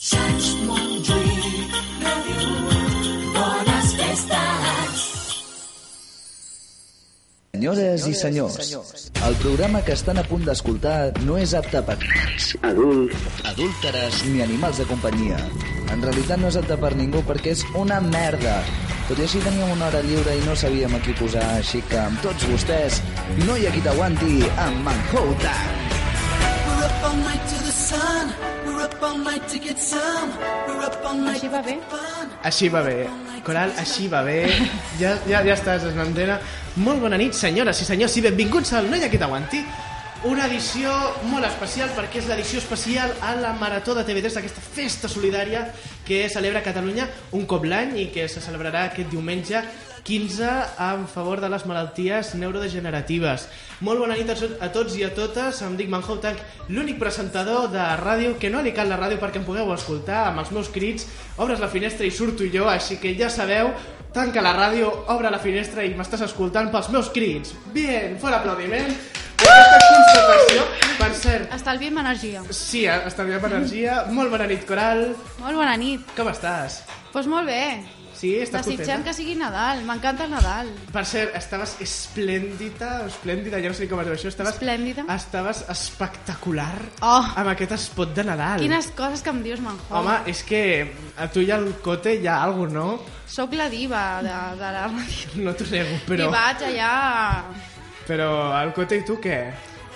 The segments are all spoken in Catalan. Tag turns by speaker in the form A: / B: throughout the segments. A: Shashmon Drink Radio, Buenas Festas.
B: Senyores i senyors, el programa que estan a punt d'escoltar no és apte per nens, adults, adúlteres ni animals de companyia. En realitat no és apte per ningú perquè és una merda. Tot i així teníem una hora lliure i no sabíem a qui posar, així que amb tots vostès, no hi ha qui t'aguanti amb Manhouta.
A: We're up all night to the sun. We're up all night to get some. We're up all night
C: Així va bé.
A: fun.
D: Així va bé. eh? Coral, així va bé. Ja, ja, ja estàs en antena. Molt bona nit, senyores i senyors, i benvinguts al No hi ha qui t'aguanti. Una edició molt especial perquè és l'edició especial a la Marató de TV3 d'aquesta festa solidària que celebra Catalunya un cop l'any i que se celebrarà aquest diumenge 15 en favor de les malalties neurodegeneratives. Molt bona nit a so- a tots i a totes. Em dic Manhou Tank, l'únic presentador de ràdio que no ha licat la ràdio perquè em pugueu escoltar amb els meus crits. Obres la finestra i surto jo, així que ja sabeu, tanca la ràdio, obre la finestra i m'estàs escoltant pels meus crits. Bien, fora aplaudiment. Aquesta constatació, per cert,
C: Estalviem energia.
D: sí, eh, estalviem energia. Molt bona nit, Coral.
C: Molt bona nit.
D: Com estàs?
C: Doncs pues molt bé.
D: Sí, estàs
C: Desitjant
D: contenta?
C: que sigui Nadal. M'encanta el Nadal.
D: Per cert, estaves esplèndida, esplèndida, jo no sé ni com es diu això, estaves...
C: Esplèndida?
D: Estaves espectacular
C: Oh.
D: amb aquest espot de Nadal.
C: Quines coses que em dius, Manjol.
D: Home, és que a tu i al Cote hi ha alguna no?
C: Sóc la diva de, de la ràdio.
D: No t'ho nego,
C: I
D: però...
C: vaig allà...
D: Però el Cote i tu què?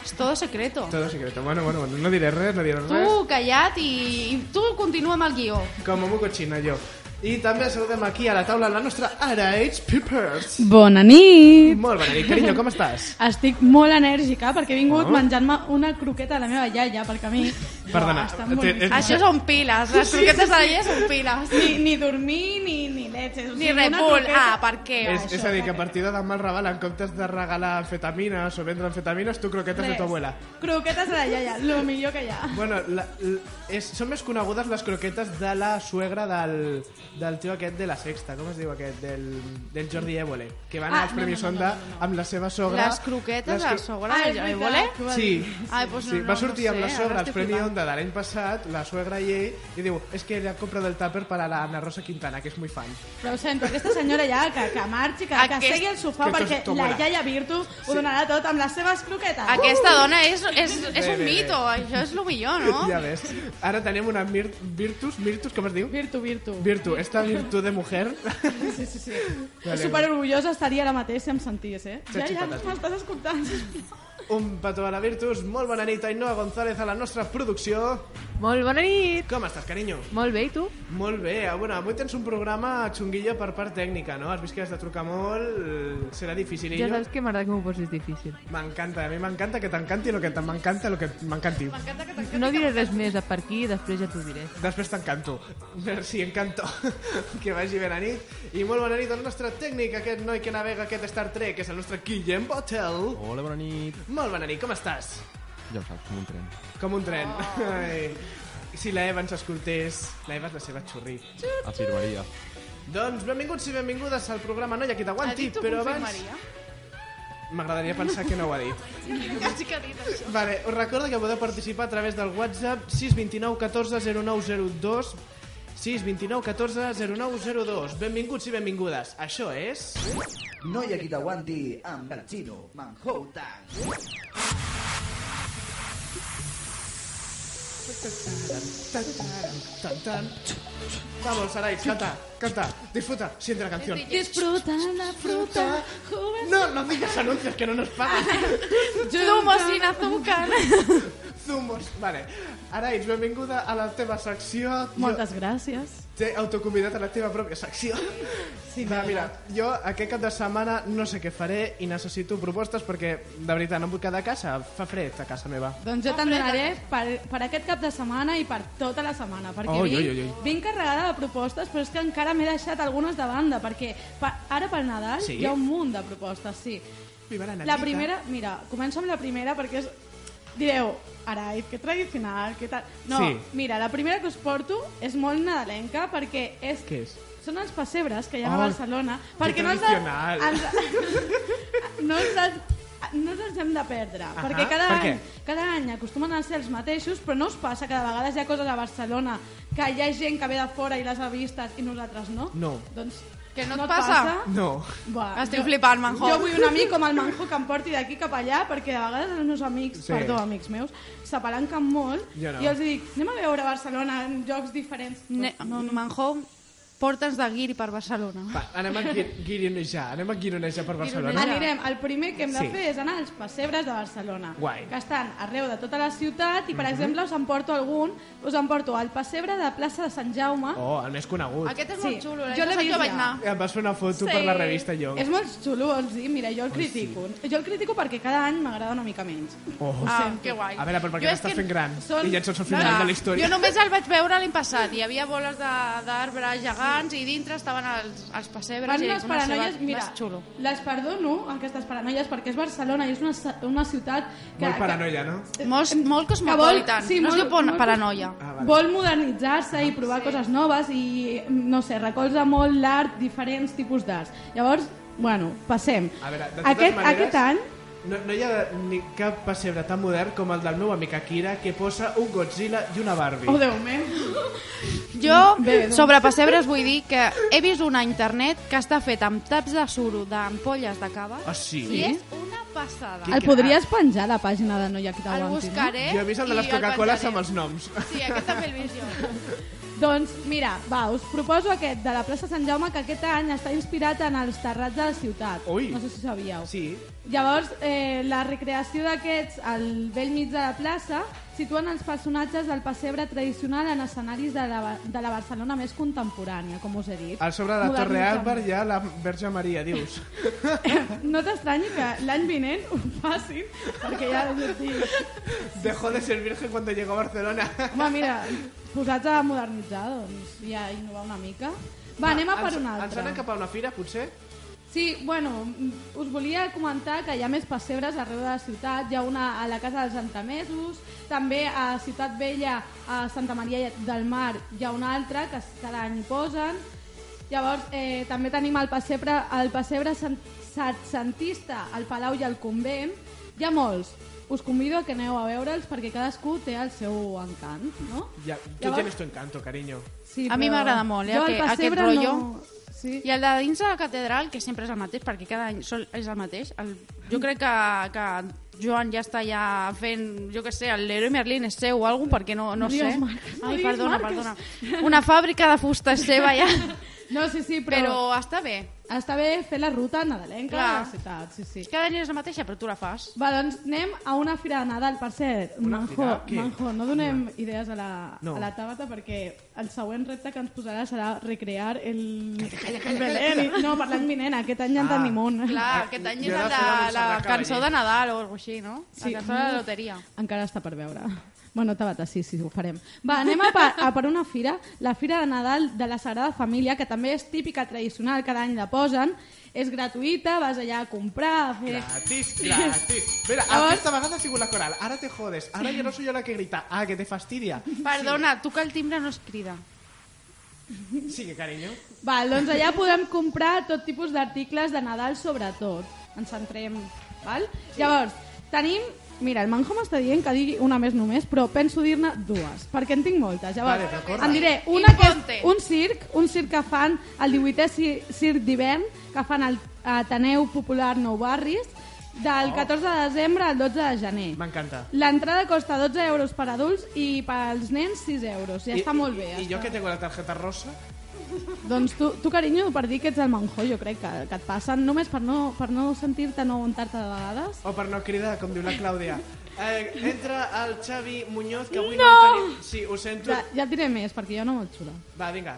C: És todo secreto.
D: Todo secreto. Bueno, bueno, bueno, no diré res, no diré
C: Tu,
D: res.
C: callat, i, i tu continua amb el guió.
D: Com a cochina, jo. I també saludem aquí a la taula la nostra Araits Peppers.
C: Mm.
E: Bona nit!
D: Molt bona nit, carinyo, com estàs?
E: Estic molt enèrgica perquè he vingut
D: Oh.
E: menjant-me una croqueta de la meva iaia perquè a mi...
D: Perdona,
E: Uah, està
D: té-
E: molt
D: és-
E: difícil.
C: Això són piles. Les croquetes de la llei són piles.
E: ni, ni dormir ni, ni leches. O
C: Ni
E: sigui, una
C: Repul.
E: croqueta-
C: Ah, per què?
D: És,
E: això,
D: és a dir, que a
E: perquè-
D: partir de demà el Raval, en comptes de regalar amfetamines o vendre amfetamines, tu croquetes de
E: Res.
D: tu abuela.
E: Croquetes de la iaia, lo millor que hi ha.
D: Bueno, la, l, és, són més conegudes les croquetes de la suegra del, del tio aquest de la sexta, com es diu aquest? Del, del Jordi Évole, que van
E: Ah,
D: als Premis
E: no, no, no,
D: Onda
E: no,
D: amb la seva sogra.
C: Les croquetes de
D: cro-
C: la sogra
E: Ah,
C: de
E: és
C: Javi
E: veritat,
C: Bolé.
E: que ho va
D: Sí,
E: dir.
C: Ai, doncs
D: sí.
C: no,
D: va
C: no
D: sortir
C: sé,
D: amb la
C: ara
D: sogra als
C: estic
D: Premi
C: flipant.
D: Onda de l'any passat, la suegra i ell, i diu, és es que li han comprat el tàper per a la Ana Rosa Quintana, que és muy fan.
E: Però ho sento, aquesta senyora ja que, que marxi, que, que
C: Aquest-
E: segui al sofà
D: que això és
E: perquè
D: tu,
E: la
D: mare.
E: iaia Virtus ho donarà tot amb les seves croquetes.
C: Aquesta dona és, és, és
D: Bé, bé,
C: un
D: bé.
C: mito. Això és el
F: Ah,
C: millor, no?
D: Ja ves. Ara tenim una Mir Virtus, Virtus, com es diu?
E: Virtu, Virtu.
D: Virtu, esta virtud de mujer
E: Sí, sí, sí.
D: Vale.
E: Super orgullosa estaria ara mateix si em sentís, eh?
D: Chachi
E: Ja, ja,
D: patata.
E: m'estàs escoltant.
D: Un petó a la Virtus, molt bona nit, Ainhoa González, a la nostra producció.
F: Molt bona nit!
D: Com estàs, carinyo?
F: Molt bé, i tu?
D: Molt bé, eh, bueno, avui tens un programa xunguillo per part tècnica, no? Has vist que has de trucar molt, eh, serà difícil.
F: Ja
D: Ja
F: saps que m'agrada que m'ho
G: pues
F: posis difícil.
D: M'encanta, a mi m'encanta que t'encanti el que te- m'encanta el que m'encanti.
F: No diré res més a per aquí i després ja t'ho diré.
D: Després t'encanto. Merci, encanto. que vagi bé la nit. I molt bona nit al nostre tècnic, aquest noi que navega aquest Star Trek, que és el nostre Guillem Botel.
H: Hola, bona nit.
D: Molt bona nit, com estàs?
H: Ja ho saps, com un tren.
D: Com un tren. Ai. Si la Eva ens escoltés, la Eva és la seva xurri.
H: Afirmaria.
D: Doncs benvinguts i benvingudes al programa Noia que
C: Ha
D: t'aguanti,
C: dit ho
D: però abans
C: confirmaria?
D: m'agradaria pensar que no ho ha dit.
C: Quasi que ha dit això.
D: Vale, us recordo que podeu participar a través del WhatsApp 629 14 0902 629 14 0902 Benvinguts i benvingudes. Això és...
B: No hi ha qui t'aguanti amb Gachino Manhouta.
D: Tan, tan. Vamos, Sarai, canta, canta, disfruta, siente la canción.
E: Disfruta la fruta, joven. Ah,
D: No, no digas anuncios que no nos pagan.
C: Zumo sin azúcar.
D: Zumbos. Vale. Araix, benvinguda a la teva secció.
E: Moltes gràcies.
D: Jo T'he autoconvidat a la teva pròpia secció.
E: Sí,
D: Va,
E: m'agrada.
D: mira, jo aquest cap de setmana no sé què faré i necessito propostes perquè, de veritat, no em vull quedar a casa. Fa fred a casa meva.
E: Doncs jo te'n donaré per, per aquest cap de setmana i per tota la setmana, perquè
H: Oi,
E: vinc,
H: oi, oi, oi.
E: vinc carregada de propostes, però és que encara m'he deixat algunes de banda, perquè pa, ara per Nadal
D: Sí?
E: hi ha un munt de propostes, sí.
D: Viva la
E: La
D: Natita.
E: primera, mira, començo amb la primera perquè és... Direu, Araiz, que tradicional, que tal... No,
D: Sí.
E: mira, la primera que us porto és molt nadalenca perquè és...
D: Què és?
E: Són els pessebres que hi ha
D: Oh,
E: a Barcelona perquè no ens,
D: tradicional.
E: ens, no ens, no ens els hem de perdre
D: Ahà,
E: perquè cada
D: per què?
E: any, cada any acostumen a ser els mateixos però no us passa que de vegades hi ha coses a Barcelona que hi ha gent que ve de fora i les ha vistes i nosaltres no?
D: No.
E: Doncs
C: Que no et
E: et
C: passa?
D: No.
E: Buah,
C: Estic flipant, Manjo.
E: jo vull un amic com el Manjo que em porti d'aquí cap allà perquè de vegades els meus amics,
D: Sí.
E: sí. perdó, amics meus, s'apalanquen molt
D: Jo no.
E: i els dic anem a veure Barcelona en llocs diferents.
C: Ne
E: no, no,
C: Manjo, porta'ns de guiri per Barcelona.
D: Va, anem a gui- guironejar, anem a guironejar per Barcelona.
C: Guironejar.
E: Anirem, el primer que hem de
D: Doncs Sí.
E: fer és anar als pessebres de Barcelona,
D: Guai. Mhm.
E: que estan arreu de tota la ciutat i, per exemple, us en porto algun, us en porto al pessebre de plaça de Sant Jaume.
D: Oh, el més conegut.
C: Aquest és
E: Sí.
C: molt xulo. eh? l'any
E: Jo l'he
C: passat
E: vist
C: Jo vaig
E: ja.
C: anar.
D: Em vas fer una foto per la revista Young.
E: És molt xulo, vols dir? Mira, jo el critico. Jo el critico perquè cada any m'agrada una mica menys.
D: Oh.
C: Ah, que guai.
D: A veure, però
C: Jo és
D: perquè t'estàs
C: que
D: fent gran
E: són-
D: i ja ets al final
C: Clar,
D: de la història.
C: Jo només el vaig veure l'any passat. Hi havia boles de- d'arbres gegants i dintre estaven els, els pessebres.
E: Van
C: i
E: les
C: una ceba-
E: paranoies, mira,
C: més xulo.
E: les perdono, aquestes paranoies, perquè és Barcelona i és una, ce- una ciutat que,
D: Molt paranoia, no?
C: Molt, molt cosmopolitan. sí, no molt, es diu pon- paranoia.
D: Ah,
E: Ah,
D: vale.
E: vale. Vol modernitzar-se i provar sí. coses noves i, no sé, recolza molt l'art, diferents tipus d'arts. Llavors, bueno, passem.
D: A veure, de totes
E: aquest,
D: maneres-
E: aquest any,
D: No, no hi ha ni cap pessebre tan modern com el del meu amic Akira que posa un Godzilla i una Barbie.
E: oh Déu meu,
C: Jo,
E: Bé, doncs.
C: sobre pessebres, vull dir que he vist una a internet que està feta amb taps de suro d'ampolles de cava
D: Ah, sí?
C: i és una passada.
E: el podries penjar a la pàgina de Noia que
C: El
E: t'aguanti, no?
C: buscaré
D: Jo he vist el de
C: i
D: les Coca-Coles
C: penjaré.
D: amb els noms.
C: Sí, aquest també el vist jo.
E: Doncs mira, va, us proposo aquest de la plaça Sant Jaume que aquest any està inspirat en els terrats de la ciutat.
D: Ui.
E: No sé si ho sabíeu.
D: Sí.
E: Llavors, eh, la recreació d'aquests al vell mig de la plaça situen els personatges del pessebre tradicional en escenaris de la, Ba- de la Barcelona més contemporània, com us he dit.
D: Al sobre de la Torre
E: Modernitzant.
D: Albar hi ha la Verge Maria, dius.
E: No t'estranyi que l'any vinent ho facin, perquè ja us dic...
D: Dejó de ser virgen cuando llegó a Barcelona.
E: Home, mira, posats a modernitzar, doncs, i a innovar una mica. Va, anem a per
D: Ens-
E: un
D: Ens
E: altre.
D: anem cap a una fira, potser?
E: Sí, bueno, mm, us volia comentar que hi ha més pessebres arreu de la ciutat. Hi ha una a la Casa dels Antamesos, també a Ciutat Vella, a Santa Maria del Mar, hi ha una altra que cada any posen. Llavors, eh, també tenim el pessebre, el pessebre sant, setcentista al Palau i al Convent. Hi ha molts. Us convido a que aneu a veure'ls perquè cadascú té el seu encant, no?
D: Ja, tu
E: Llavors-
D: tienes tu encanto, cariño.
E: Sí,
C: A mi m'agrada molt, eh,
E: jo el
C: aquest- aquest
E: pessebre
C: rotllo.
E: No... Sí.
C: I el de dins de la catedral, que sempre és el mateix, perquè cada any sol, és el mateix, el, jo crec que, que Joan ja està ja fent, jo que sé, el Leroy Merlin és seu o alguna cosa, perquè no, no,
E: No
C: sé.
E: digues marques, no
C: Ai,
E: digues
C: perdona,
E: marques.
C: perdona. Una fàbrica de fusta és seva ja,
E: No, sí, sí, però...
C: però està bé.
E: Està bé fer la ruta nadalenca
C: Clar.
E: a la ciutat, sí, sí.
C: Cada any és la mateixa, però tu la fas.
E: Va, doncs anem a una fira de Nadal, per cert.
D: Una
E: Manjo,
D: fira? Què?
E: Manjo, no donem idees a la,
D: No.
E: a la Tabata perquè el següent repte que ens posarà serà recrear el, el Belén. No, per l'any vinent, aquest any ja en
D: Ah,
E: tenim un.
C: Clar, aquest any és
D: jo la
C: el de
D: fora no
C: la
D: s'arracava
C: cançó
D: allí.
C: de Nadal o alguna així, no? La cançó de la loteria.
E: Encara està per veure. Bueno, Tabata, sí, sí, ho farem. Va, anem a per, a per una fira, la Fira de Nadal de la Sagrada Família, que també és típica, tradicional, cada any la posen. És gratuïta, vas allà a comprar, a fer...
D: Gratis, gratis. Mira,
E: Llavors-
D: aquesta vegada ha sigut la coral. Ara te jodes. Ara ja no soy yo la que grita. Ah, que te fastidia.
C: Perdona, tu que el timbre no es crida.
D: Sigue, cariño.
E: Val, doncs allà podem comprar tot tipus d'articles de Nadal, sobretot. Ens centrem, val? Llavors, tenim... Mira, el Manjo m'està dient que digui una més només, però penso dir-ne dues, perquè en tinc moltes. Llavors,
D: Vale, però corre.
E: en diré una que
C: Infonte.
E: és un circ, un circ que fan el 18è ci- circ d'hivern, que fan al Ateneu Popular Nou Barris,
D: Oh.
E: del 14 de desembre al 12 de gener.
D: M'encanta.
E: L'entrada costa 12 euros per adults i pels nens 6 euros. Ja
D: I-
E: està molt bé.
D: I, i jo
E: està.
D: que tengo la tarjeta rosa,
E: Doncs tu, tu carinyo, per dir que ets el manjo, jo crec que, que
D: Oh,
E: et passen només per no, per no sentir-te no aguantar-te de vegades.
D: o per no cridar, com diu la Clàudia, Eh, entra el Xavi Muñoz, que avui no, no tenim... Sí, ho sento.
E: Ja, ja et diré més, perquè jo no molt xula.
D: Va, vinga.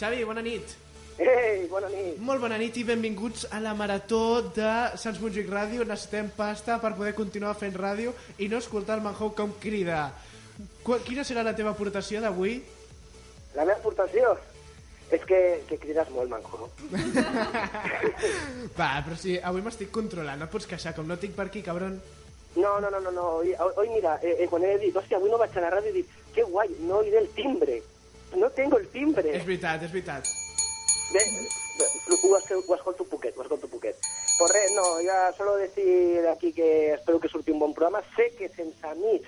D: Xavi, bona nit.
I: Ei, bona nit.
D: Molt bona nit i benvinguts a la marató de Sants Montjuïc Ràdio. Necessitem pasta per poder continuar fent ràdio i no escoltar el Manhou com crida. Qu- Quina serà la teva aportació d'avui?
I: La meva aportació és que, que crides molt, manco.
D: Va, però si avui m'estic controlant, no et pots queixar, com no tinc per aquí, cabron.
I: No, no, no, no, no. Hoy, hoy mira, eh, eh, quan he dit, hòstia, avui no vaig a la ràdio, he dit, que guai, no oiré el timbre. No tengo el timbre.
D: És veritat, és veritat.
I: Bé, bé, ho, es- ho escolto poquet, ho escolto poquet. Pues res, no, ja solo decir aquí que espero que surti un bon programa. Sé que sense mi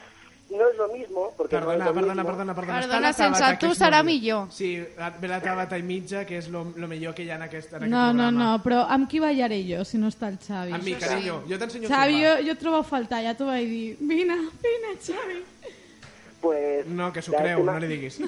I: no és lo mismo, porque no
D: Perdona,
I: és lo
D: perdona,
I: mismo.
D: perdona, perdona.
C: Perdona,
D: Està la
C: sense
D: tabata,
C: tu
D: que és
C: serà
D: molt bé.
C: millor.
D: Sí, la- ve la tabata i mitja, que és lo, lo millor que hi ha en aquest, en aquest
E: No, no,
D: programa.
E: no, però amb qui ballaré jo si no està el Xavi?
D: Amb mi, carinyo, jo t'ensenyo a
E: Xavi, jo,
D: trobar.
E: jo et trobo a faltar, ja t'ho vaig dir. Vine, vine, Xavi.
I: Pues,
D: No, que s'ho creu,
I: llàstima-
D: no li diguis.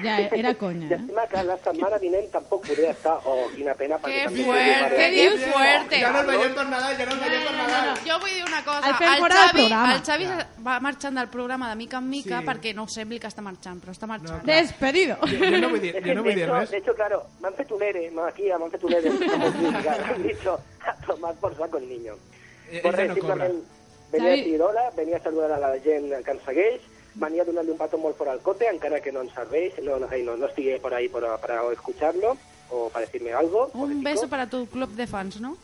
E: Ja, era conya, eh?
I: Llàstima que la setmana vinent tampoc podré estar, oh, quina pena. perquè
C: Que
I: també-
C: fuerte,
I: Vale.
C: que fuerte.
D: Ja no el veiem per Nadal, ja no el veiem per Nadal.
C: Jo vull dir una cosa.
E: El fem
C: El,
E: fora del
C: Xavi,
E: programa.
C: el Xavi va marxant del programa de mica en mica
D: Sí.
C: perquè no sembli que està marxant, però està marxant.
D: clar.
E: Despedido.
D: Jo no vull dir,
I: Es que,
D: jo no vull
I: de,
D: dir
I: hecho,
D: res.
I: de hecho, claro, me han hecho un ERE, me- aquí me han hecho un ERE, como crítica, me han dicho a tomar por saco el niño.
D: Eh,
I: Por
D: ella
I: res,
D: no cobra.
I: simplement venia a
E: Xavi.
I: dir hola, venia a saludar a la gent que ens segueix, venia a donar-li un petó molt fora al cote, encara que no ens serveix, no, no, ai, no, no estigui por ahí para, para escucharlo o para decirme algo.
C: Un
E: Oh.
I: pobrecito.
C: beso para tu club de fans, ¿no?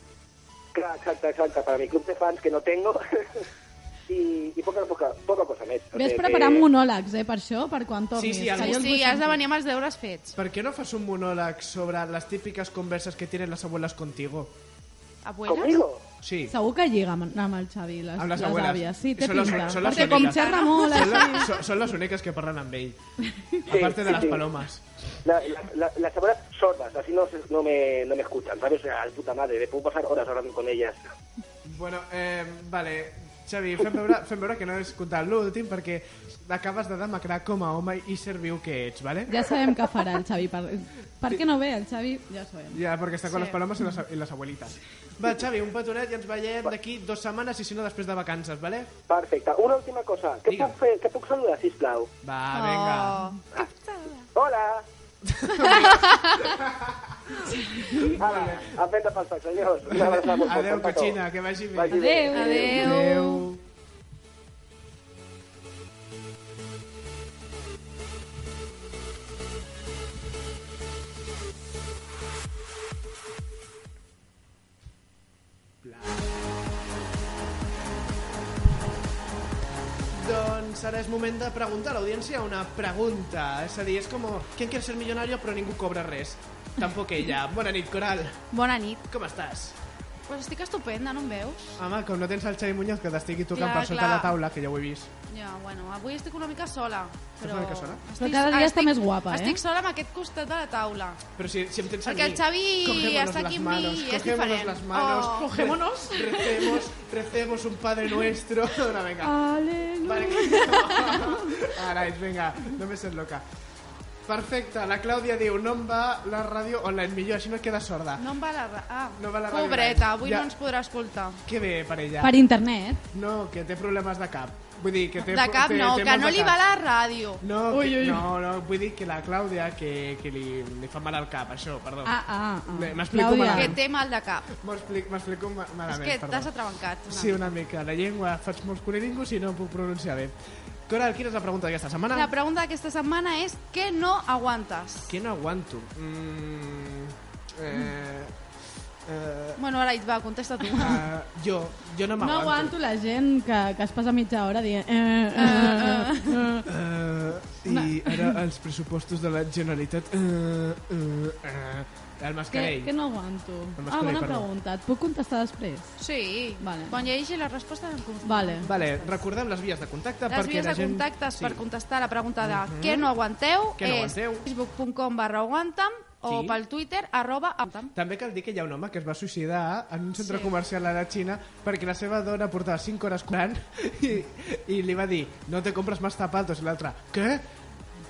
I: Clar, exacte, exacte, para mi club de fans que no tengo. I, i poca, poca, poca cosa més. O
E: Ves
I: sigui que-
E: preparant monòlegs, eh, per això, per quan tornis.
D: sí,
E: que
D: algú-
E: jo
C: Sí,
E: els
C: sí,
E: vull
C: has de
E: sentir.
C: venir amb els deures fets.
D: ¿Por qué no fas un monólogo sobre las típicas conversas que tienen las abuelas contigo?
C: Abuelas.
I: Conmigo?
D: Sí.
E: Segur que lliga amb, amb el Xavi, les,
D: Amb les
E: les,
D: abueles.
E: àvies. Sí, té
D: Són les-
E: pinta.
D: són les
E: Perquè com
D: úniques.
E: xerra molt,
D: Són,
E: així...
D: la, so- són les úniques que parlen amb ell. Aparte de
I: sí,
D: las
I: sí.
D: palomas.
I: La, la, la- las abuelas sordas, así no, se- no, me, no me escuchan, ¿sabes? O sea, al puta madre, le puedo pasar horas hablando con ellas.
D: Bueno, eh, vale, Xavi, fem veure, fem veure que no has contat l'últim perquè acabes de demacrar com a home i ser viu que ets, vale?
E: Ja sabem què farà el Xavi. Per, per què no ve el Xavi? Ja ho sabem.
D: Ja, perquè està con les palomes i les, i les abuelitas. Va, Xavi, un petonet i ens veiem d'aquí dues setmanes i si no després de vacances, vale?
I: Perfecte. Una última cosa. Què
D: Digue'm.
I: puc, fer, què puc saludar, Oh. sisplau?
D: Va, vinga.
I: Hola! Ara, a fer de passar, senyors. Una abraçada molt forta
D: Adeu,
I: per tot.
D: cochina, que vagi bé.
I: Vagi bé.
E: Adéu.
C: Adeu.
D: Adeu. Doncs ara és moment de preguntar a l'audiència una pregunta. És a dir, és com ¿Quién quiere ser millonario però ningú cobra res? Tampoc ella. Bona nit, Coral.
C: Bona nit.
D: Com estàs?
C: Pues estic estupenda, no em veus?
D: Home, com no tens el Xavi Muñoz que t'estigui tocant
C: Clar,
D: per sota
C: clar.
D: la taula, que ja ho he vist.
C: Ja, bueno, avui estic una mica sola. Però,
D: una mica sola?
E: Però cada dia està més guapa, eh?
C: Estic sola amb aquest costat de la taula.
D: Però si, si em tens
C: Perquè
D: a mi...
C: el Xavi
D: Cogémonos
C: està aquí amb
D: las
C: mi
D: manos,
C: i és
D: cogémonos
C: diferent.
D: las manos,
C: Oh.
D: cogémonos, recemos, recemos un Padre Nuestro. Dona,
C: Ah.
D: venga.
E: Aleluia.
D: Vale. Arais, venga, no me sent loca. Perfecte, la Clàudia diu no em va la ràdio online millor, així no et queda sorda.
C: No em va la... ra- Ah,
D: No va la ràdio
C: pobreta,
D: online.
C: avui
D: Ja.
C: no ens podrà escoltar.
D: Que bé per ella.
E: Per internet.
D: No, que té problemes de cap. Vull dir, que té...
C: De cap
D: té,
C: no,
D: té
C: que
D: mal
C: no
D: de
C: li
D: cap.
C: va la ràdio.
D: No,
E: Ui,
D: que,
E: ui, ui.
D: no, no, vull dir que la Clàudia que, que li, li fa mal al cap, això, perdó.
E: Ah, ah, ah.
D: Bé, m'explico
E: Clàudia.
D: malament.
C: Que té mal de cap.
D: M'explico m'explico ma-
C: És
D: malament,
C: que
D: perdó.
C: t'has atrabancat.
D: Sí, una mica. La llengua faig molts cunilingus i no em puc pronunciar bé. Coral, quina és la pregunta d'aquesta setmana?
C: La pregunta d'aquesta setmana és què no aguantes?
D: Què no aguanto? Mm, eh, eh,
C: Bueno, ara va, contesta tu.
D: eh, jo, jo no
E: No
D: m'aguanto.
E: aguanto la gent que, que es passa mitja hora dient... Eh, eh, eh, eh.
D: Eh, I ara els pressupostos de la Generalitat... Eh, eh, eh,
E: Què,
D: el mascarell.
E: què no aguanto?
D: Amb
E: Ah,
D: mascarell,
E: bona
D: perdó.
E: pregunta. Et puc contestar després?
C: Sí,
E: Vale.
C: quan llegeixi la resposta em confio.
E: Vale.
D: Vale, recordem les vies de contacte
C: Les
D: perquè
C: vies
D: la
C: de
D: gent... Mhm.
C: contactes per contestar la pregunta de què no aguanteu
D: Què no
C: és
D: aguanteu?
C: facebook.com barra aguanta'm o
D: Sí.
C: pel Twitter arroba aguanta'm.
D: També cal dir que hi ha un home que es va suïcidar en un centre
C: Sí.
D: comercial a la Xina perquè la seva dona portava 5 hores curant i, i li va dir, no te compres más zapatos. I l'altre, què?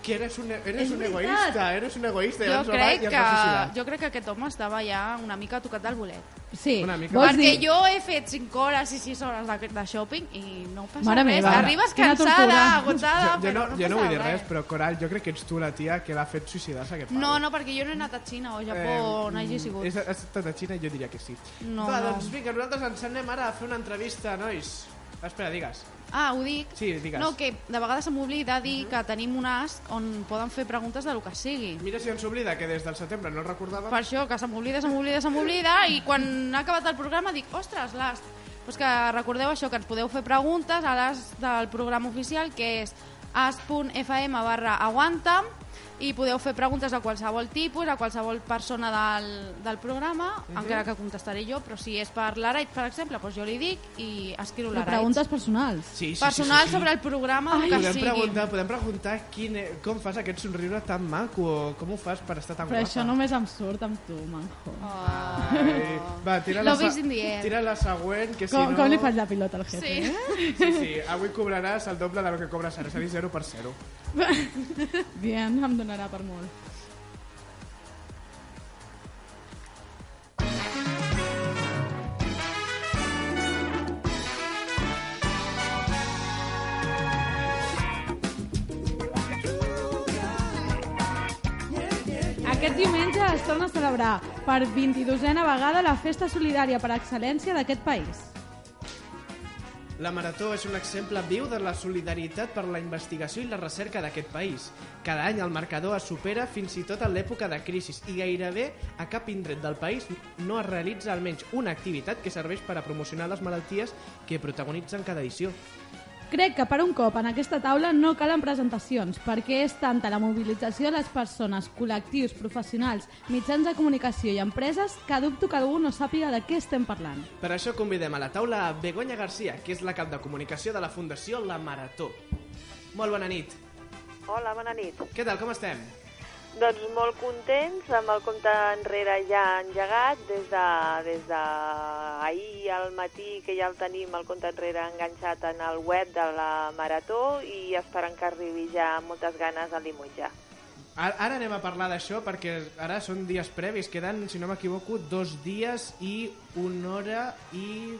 D: Que eres un, eres
E: És
D: un
E: veritat.
D: egoista, eres un egoista. i
C: Jo
D: ens va-
C: crec,
D: i ens
C: que,
D: va suicidar.
C: jo crec que aquest home estava ja una mica tocat al bolet.
E: Sí,
D: Una mica.
E: vols
C: Perquè
E: dir...
C: jo he fet 5 hores i 6 hores de, de shopping i no passa
E: Mare
C: res.
E: meva,
C: Arribes
E: quina
C: cansada,
E: tortura.
C: agotada,
D: Jo, jo, no,
C: Ah, però no,
D: jo
C: passa
D: no vull dir res, però Coral, jo crec que ets tu la tia que l'ha fet suïcidar-se aquest pare.
C: No, no, perquè jo no he anat a Xina o
D: Eh,
C: Japó on
D: mm,
C: hagi sigut.
D: Has estat a tota Xina i jo diria que sí.
C: No,
D: Va,
C: no.
D: doncs vinga, nosaltres ens anem ara a fer una entrevista, nois. Espera, digues.
C: Ah, ho dic?
D: Sí, digues.
C: No, que de vegades se m'oblida dir que tenim un ask on poden fer preguntes de lo que sigui.
D: Mira si ens oblida que des del setembre no el recordàvem.
C: Per això, que se m'oblida, se m'oblida, se m'oblida, i quan ha acabat el programa dic, ostres, l'AS... Pues que recordeu això, que ens podeu fer preguntes a l'AS del programa oficial, que és as.fm barra aguanta'm, i podeu fer preguntes de qualsevol tipus, a qualsevol persona del, del programa, encara que contestaré jo, però si és per l'Araid, per exemple, doncs jo li dic i escriu
E: Però
C: l'Araid.
E: preguntes personals.
D: Sí, sí,
C: Personal
D: sí, sí, sí.
C: sobre el programa, el que
D: podem
C: sigui.
D: preguntar, podem preguntar quin, e-, com fas aquest somriure tan maco o com ho fas per estar tan
E: Però
D: guapa.
E: això només em surt amb tu, manjo.
D: Ai, va, tira la,
C: Love
D: se-
C: is in the air.
D: tira la següent, que si
E: Com,
D: no...
E: com li faig la pilota al jefe?
C: Sí.
D: Sí, sí, avui cobraràs el doble del que cobres ara, és a dir, 0 per 0.
E: Bien, em donarà per molt. Aquest diumenge es torna a celebrar per 22a vegada la festa solidària per excel·lència d'aquest país.
D: La Marató és un exemple viu de la solidaritat per la investigació i la recerca d'aquest país. Cada any el marcador es supera fins i tot en l'època de crisi i gairebé a cap indret del país no es realitza almenys una activitat que serveix per a promocionar les malalties que protagonitzen cada edició.
E: Crec que per un cop en aquesta taula no calen presentacions, perquè és tanta la mobilització de les persones, col·lectius, professionals, mitjans de comunicació i empreses que dubto que algú no sàpiga de què estem parlant.
D: Per això convidem a la taula a Begoña Garcia, que és la cap de comunicació de la Fundació La Marató. Molt bona nit.
J: Hola, bona nit.
D: Què tal, com estem?
J: Doncs molt contents amb el compte enrere ja engegat des de, des de ahir al matí que ja el tenim el compte enrere enganxat en el web de la Marató i esperant que arribi ja amb moltes ganes a Limoja.
D: Ara ara anem a parlar d'això perquè ara són dies previs, queden, si no m'equivoco, dos dies i una hora i...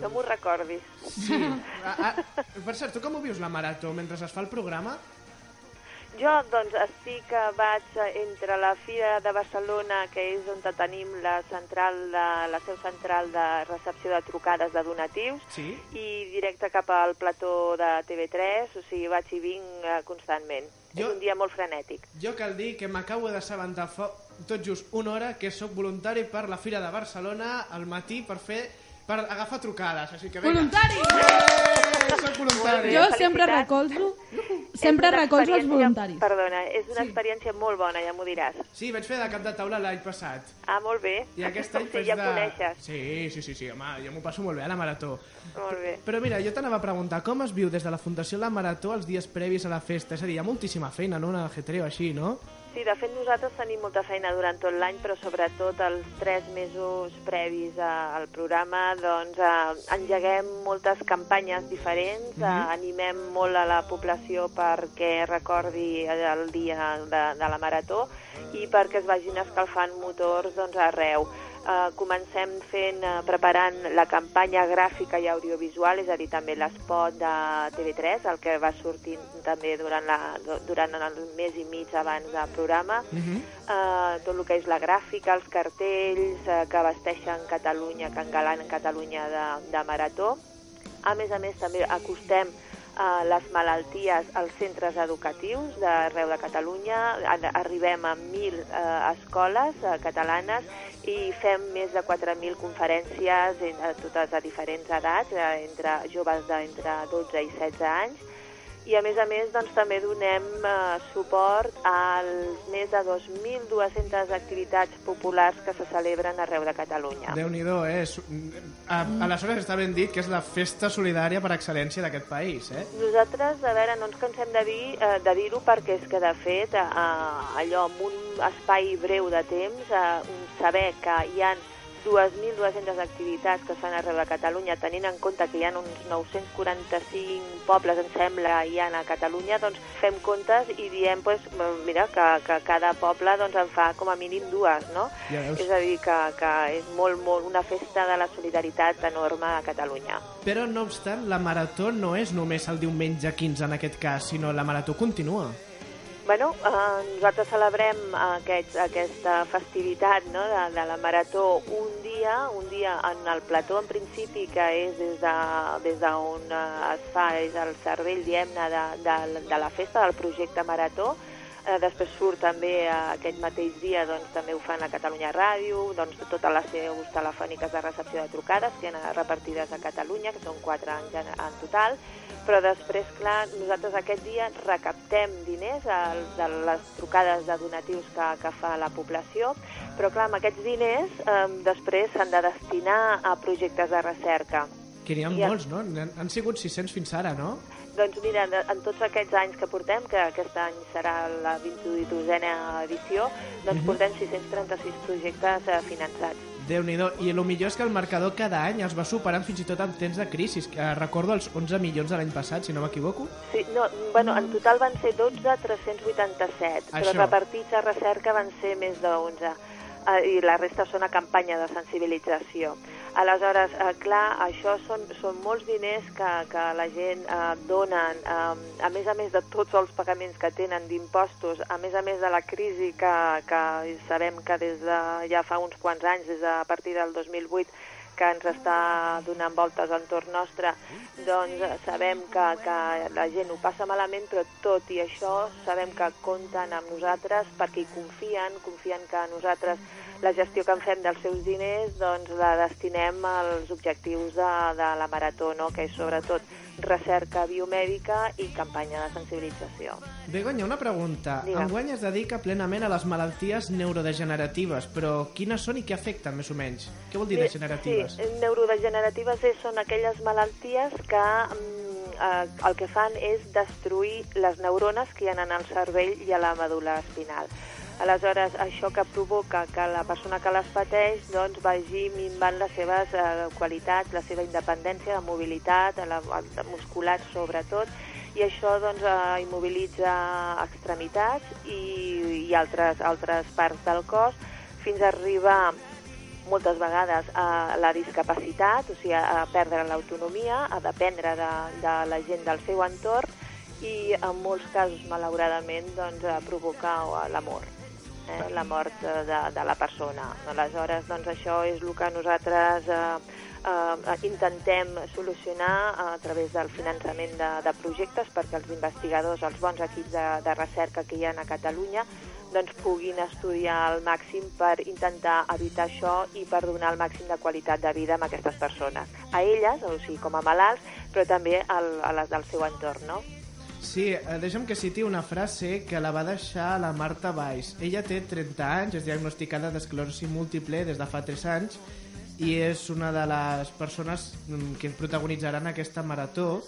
J: No m'ho recordis.
D: Sí. A, a, per cert, tu com ho vius la marató mentre es fa el programa?
J: Jo, doncs, sí que vaig entre la Fira de Barcelona, que és on tenim la, central de, la seu central de recepció de trucades de donatius,
D: Sí.
J: i directe cap al plató de TV3, o sigui, vaig i vinc eh, constantment.
D: Jo-
J: Jo... És un dia molt frenètic.
D: Jo cal dir que m'acabo d'assabentar fa tot just una hora que sóc voluntari per la Fira de Barcelona al matí per fer per agafar trucades, així que vinga.
E: Voluntari!
D: Eh, soc voluntari!
E: Jo
J: felicitats.
E: sempre recolzo, sempre
J: És una
E: recolzo els
J: experiència-
E: voluntaris.
J: Perdona, és una sí. experiència molt bona, ja m'ho diràs.
D: Sí, vaig fer de cap de taula l'any passat.
J: Ah, molt bé.
D: I aquest any
J: sí,
D: fes
J: ja
D: de...
J: coneixes.
D: Sí, sí, sí, sí, home, jo m'ho passo molt bé a la marató.
J: Molt bé.
D: Però mira, jo t'anava a preguntar, com es viu des de la Fundació La Marató els dies previs a la festa? És a dir, hi ha moltíssima feina, no? Un ajetreo així, no?
J: Sí, de fet nosaltres tenim molta feina durant tot l'any, però sobretot els tres mesos previs a- al programa doncs eh, engeguem moltes campanyes diferents, eh, animem molt a la població perquè recordi el dia de, de la marató i perquè es vagin escalfant motors doncs, arreu. Eh, comencem fent, eh, preparant la campanya gràfica i audiovisual, és a dir, també l'espot de TV3, el que va sortint també durant, la, durant el mes i mig abans del programa, uh
D: Mm-hmm.
J: -huh. eh, tot el que és la gràfica, els cartells eh, que vesteixen Catalunya, que engalanen Catalunya de, de marató. A més a més, també acostem eh, les malalties als centres educatius d'arreu de Catalunya. Ar- Arribem a 1.000 eh, escoles eh, catalanes i fem més de 4.000 conferències en- a totes a diferents edats, eh, entre joves d'entre 12 i 16 anys. I a més a més doncs, també donem eh, suport als més de 2.200 activitats populars que se celebren arreu de Catalunya.
D: Déu-n'hi-do, eh? Su- A, aleshores està ben dit que és la festa solidària per excel·lència d'aquest país, eh?
J: Nosaltres, a veure, no ens cansem de dir eh, de dir-ho perquè és que, de fet, eh, allò, en un espai breu de temps, eh, un saber que hi han 2.200 activitats que es fan arreu de Catalunya, tenint en compte que hi ha uns 945 pobles, em sembla, hi ha a Catalunya, doncs fem comptes i diem pues, mira, que, que cada poble doncs, en fa com a mínim dues, no?
D: Ja veus.
J: és a dir, que, que és molt, molt una festa de la solidaritat enorme a Catalunya.
D: Però, no obstant, la marató no és només el diumenge 15 en aquest cas, sinó la marató continua.
J: Bueno, eh, nosaltres celebrem aquest, aquesta festivitat no, de, de la Marató un dia, un dia en el plató en principi, que és des d'on de, des d'on, eh, es fa, és el cervell, diem-ne, de, de, de la festa del projecte Marató, Eh, després surt també eh, aquest mateix dia, doncs també ho fan a Catalunya Ràdio, doncs totes les seus telefòniques de recepció de trucades que han repartides a Catalunya, que són quatre en, gen- en total, però després, clar, nosaltres aquest dia recaptem diners eh, de les trucades de donatius que, que fa la població, però clar, amb aquests diners eh, després s'han de destinar a projectes de recerca.
D: Que n'hi ha
J: Ja.
D: molts, no? Han, han sigut 600 fins ara, no?
J: Doncs mira, de- en tots aquests anys que portem, que aquest any serà la 22a edició, doncs
D: Mhm.
J: portem 636 projectes eh, finançats.
D: déu nhi I el millor és que el marcador cada any els va superant fins i tot en temps de crisi. Que recordo els 11 milions de l'any passat, si no m'equivoco.
J: Sí, no, bueno, en total van ser 12.387, però
D: Això.
J: repartits a recerca van ser més de 11 eh, i la resta són a campanya de sensibilització. Aleshores, eh, clar, això són, són molts diners que, que la gent eh, donen, eh, a més a més de tots els pagaments que tenen d'impostos, a més a més de la crisi que, que sabem que des de ja fa uns quants anys, des de, a partir del 2008, que ens està donant voltes al entorn nostre, doncs eh, sabem que, que la gent ho passa malament, però tot i això sabem que compten amb nosaltres perquè hi confien, confien que nosaltres la gestió que en fem dels seus diners doncs la destinem als objectius de, de la Marató, no? que és sobretot recerca biomèdica i campanya de sensibilització.
D: Begoña, una pregunta.
J: Digue'm.
D: Enguany es dedica plenament a les malalties neurodegeneratives, però quines són i què afecten, més o menys? Què vol dir degeneratives?
J: Sí, neurodegeneratives és, són aquelles malalties que mm, eh, el que fan és destruir les neurones que hi ha en el cervell i a la medul·la espinal. Aleshores, això que provoca que la persona que les pateix doncs, vagi minvant les seves eh, qualitats, la seva independència, la mobilitat, la, la muscular sobretot, i això doncs, eh, immobilitza extremitats i, i altres, altres parts del cos fins a arribar moltes vegades a la discapacitat, o sigui, a perdre l'autonomia, a dependre de, de la gent del seu entorn i en molts casos, malauradament, doncs, a provocar eh, la mort, eh, la mort eh, de, de la persona. Aleshores, doncs, això és el que nosaltres eh, eh, intentem solucionar a través del finançament de, de projectes perquè els investigadors, els bons equips de, de recerca que hi ha a Catalunya, doncs puguin estudiar al màxim per intentar evitar això i per donar el màxim de qualitat de vida a aquestes persones. A elles, o sigui, com a malalts, però també al, a les del seu entorn, no?
D: Sí, eh, deixa'm que citi una frase que la va deixar la Marta Valls. Ella té 30 anys, és diagnosticada d'esclerosi múltiple des de fa 3 anys i és una de les persones mm, que protagonitzaran aquesta marató.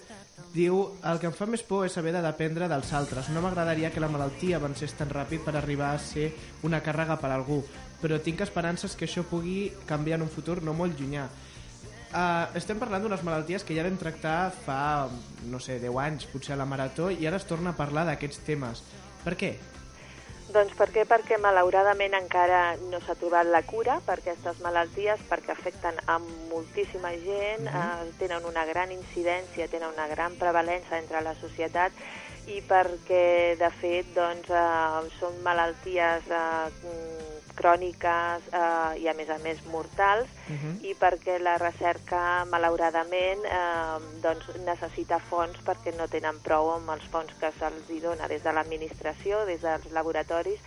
D: Diu, el que em fa més por és haver de dependre dels altres. No m'agradaria que la malaltia avancés tan ràpid per arribar a ser una càrrega per a algú, però tinc esperances que això pugui canviar en un futur no molt llunyà. Uh, estem parlant d'unes malalties que ja vam tractar fa, no sé, 10 anys, potser a la Marató, i ara es torna a parlar d'aquests temes. Per què?
J: Doncs per què? Perquè malauradament encara no s'ha trobat la cura per aquestes malalties, perquè afecten a moltíssima gent, mm -hmm. eh, tenen una gran incidència, tenen una gran prevalença entre la societat i perquè, de fet, doncs, eh, són malalties eh, mm, cròniques eh, i, a més a més, mortals, i perquè la recerca, malauradament, eh, doncs necessita fons perquè no tenen prou amb els fons que se'ls hi dona des de l'administració, des dels laboratoris,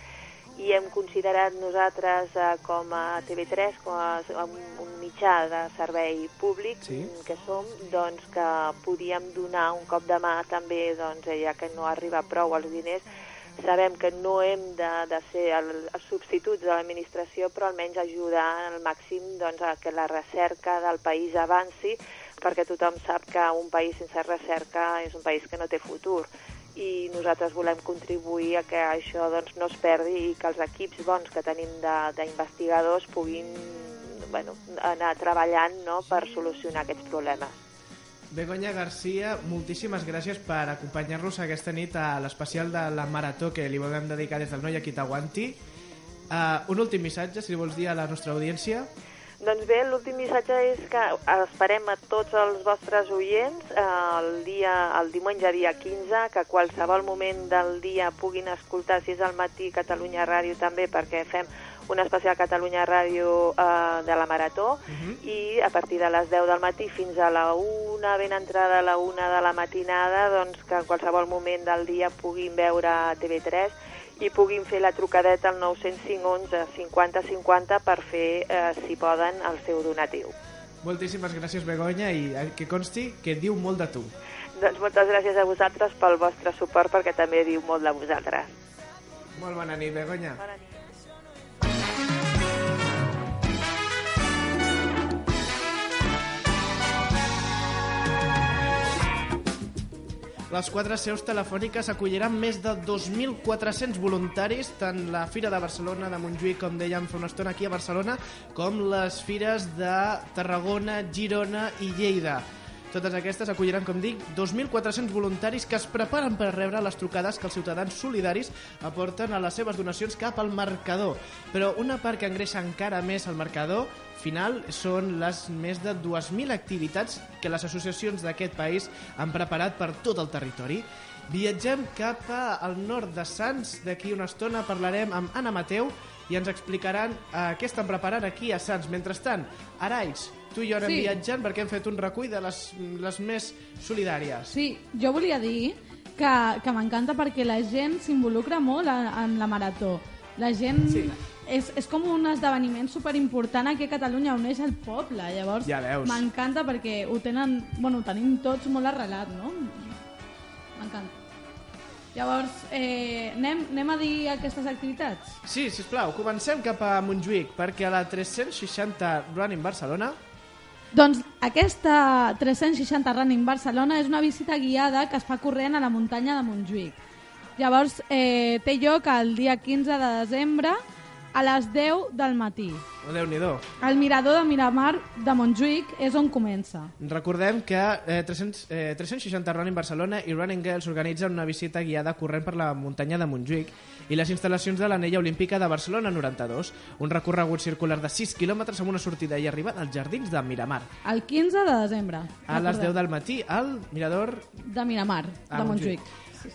J: i hem considerat nosaltres eh, com a TV3, com a un, un mitjà de servei públic
D: Sí.
J: que som, doncs que podíem donar un cop de mà també, doncs, eh, ja que no arriba prou els diners, sabem que no hem de, de ser el, els substituts de l'administració, però almenys ajudar al màxim doncs, a que la recerca del país avanci, perquè tothom sap que un país sense recerca és un país que no té futur i nosaltres volem contribuir a que això doncs, no es perdi i que els equips bons que tenim de- d'investigadors puguin bueno, anar treballant no, per solucionar aquests problemes.
D: Begoña Garcia, moltíssimes gràcies per acompanyar-nos aquesta nit a l'especial de la Marató que li volem dedicar des del Noi a qui t'aguanti. Uh, un últim missatge, si li vols dir a la nostra audiència.
J: Doncs bé, l'últim missatge és que esperem a tots els vostres oients eh, el, dia, el diumenge dia 15, que qualsevol moment del dia puguin escoltar, si és al matí, Catalunya Ràdio també, perquè fem un especial Catalunya Ràdio eh, de la Marató, i a partir de les 10 del matí fins a la 1, ben entrada a la 1 de la matinada, doncs que en qualsevol moment del dia puguin veure TV3 i puguin fer la trucadeta al 905 11 50 50 per fer, eh, si poden, el seu donatiu.
D: Moltíssimes gràcies, Begoña, i eh, que consti que diu molt de tu.
J: Doncs moltes gràcies a vosaltres pel vostre suport, perquè també diu molt de vosaltres.
D: Molt bona nit, Begoña.
J: Bona
D: Les quatre seus telefòniques acolliran més de 2.400 voluntaris, tant la Fira de Barcelona de Montjuïc, com dèiem fa una estona aquí a Barcelona, com les fires de Tarragona, Girona i Lleida. Totes aquestes acolliran, com dic, 2.400 voluntaris que es preparen per rebre les trucades que els ciutadans solidaris aporten a les seves donacions cap al marcador. Però una part que engreixa encara més el marcador final són les més de 2.000 activitats que les associacions d'aquest país han preparat per tot el territori. Viatgem cap a- al nord de Sants. D'aquí una estona parlarem amb Anna Mateu i ens explicaran eh, què estan preparant aquí a Sants. Mentrestant, Araix, tu i jo anem
E: Sí.
D: sí. viatjant perquè hem fet un recull de les, les més solidàries.
E: Sí, jo volia dir que, que m'encanta perquè la gent s'involucra molt en, en la marató. La gent... Sí. És, és com un esdeveniment superimportant aquí a Catalunya, uneix el poble. Llavors,
D: Ja veus.
E: m'encanta perquè ho tenen... Bueno, ho tenim tots molt arrelat, no? M'encanta. Llavors, eh, anem, anem a dir aquestes activitats?
D: Sí, si plau, comencem cap a Montjuïc perquè a la 360 Running Barcelona
E: Doncs aquesta 360 Running Barcelona és una visita guiada que es fa corrent a la muntanya de Montjuïc. Llavors, eh, té lloc el dia 15 de desembre a les 10 del matí.
D: oh, déu nhi
E: El mirador de Miramar de Montjuïc és on comença.
D: Recordem que eh, 300, eh, 360 Running Barcelona i Running Girls organitzen una visita guiada corrent per la muntanya de Montjuïc i les instal·lacions de l'anella olímpica de Barcelona 92, un recorregut circular de 6 quilòmetres amb una sortida i arribada als jardins de Miramar.
E: El 15 de desembre.
D: A les 10
E: recordem,
D: del matí al Mirador
E: de Miramar, de Montjuïc.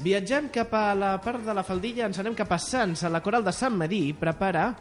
D: Viatgem cap a la part de la faldilla, ens anem cap a Sants, a la Coral de Sant Madí, prepara...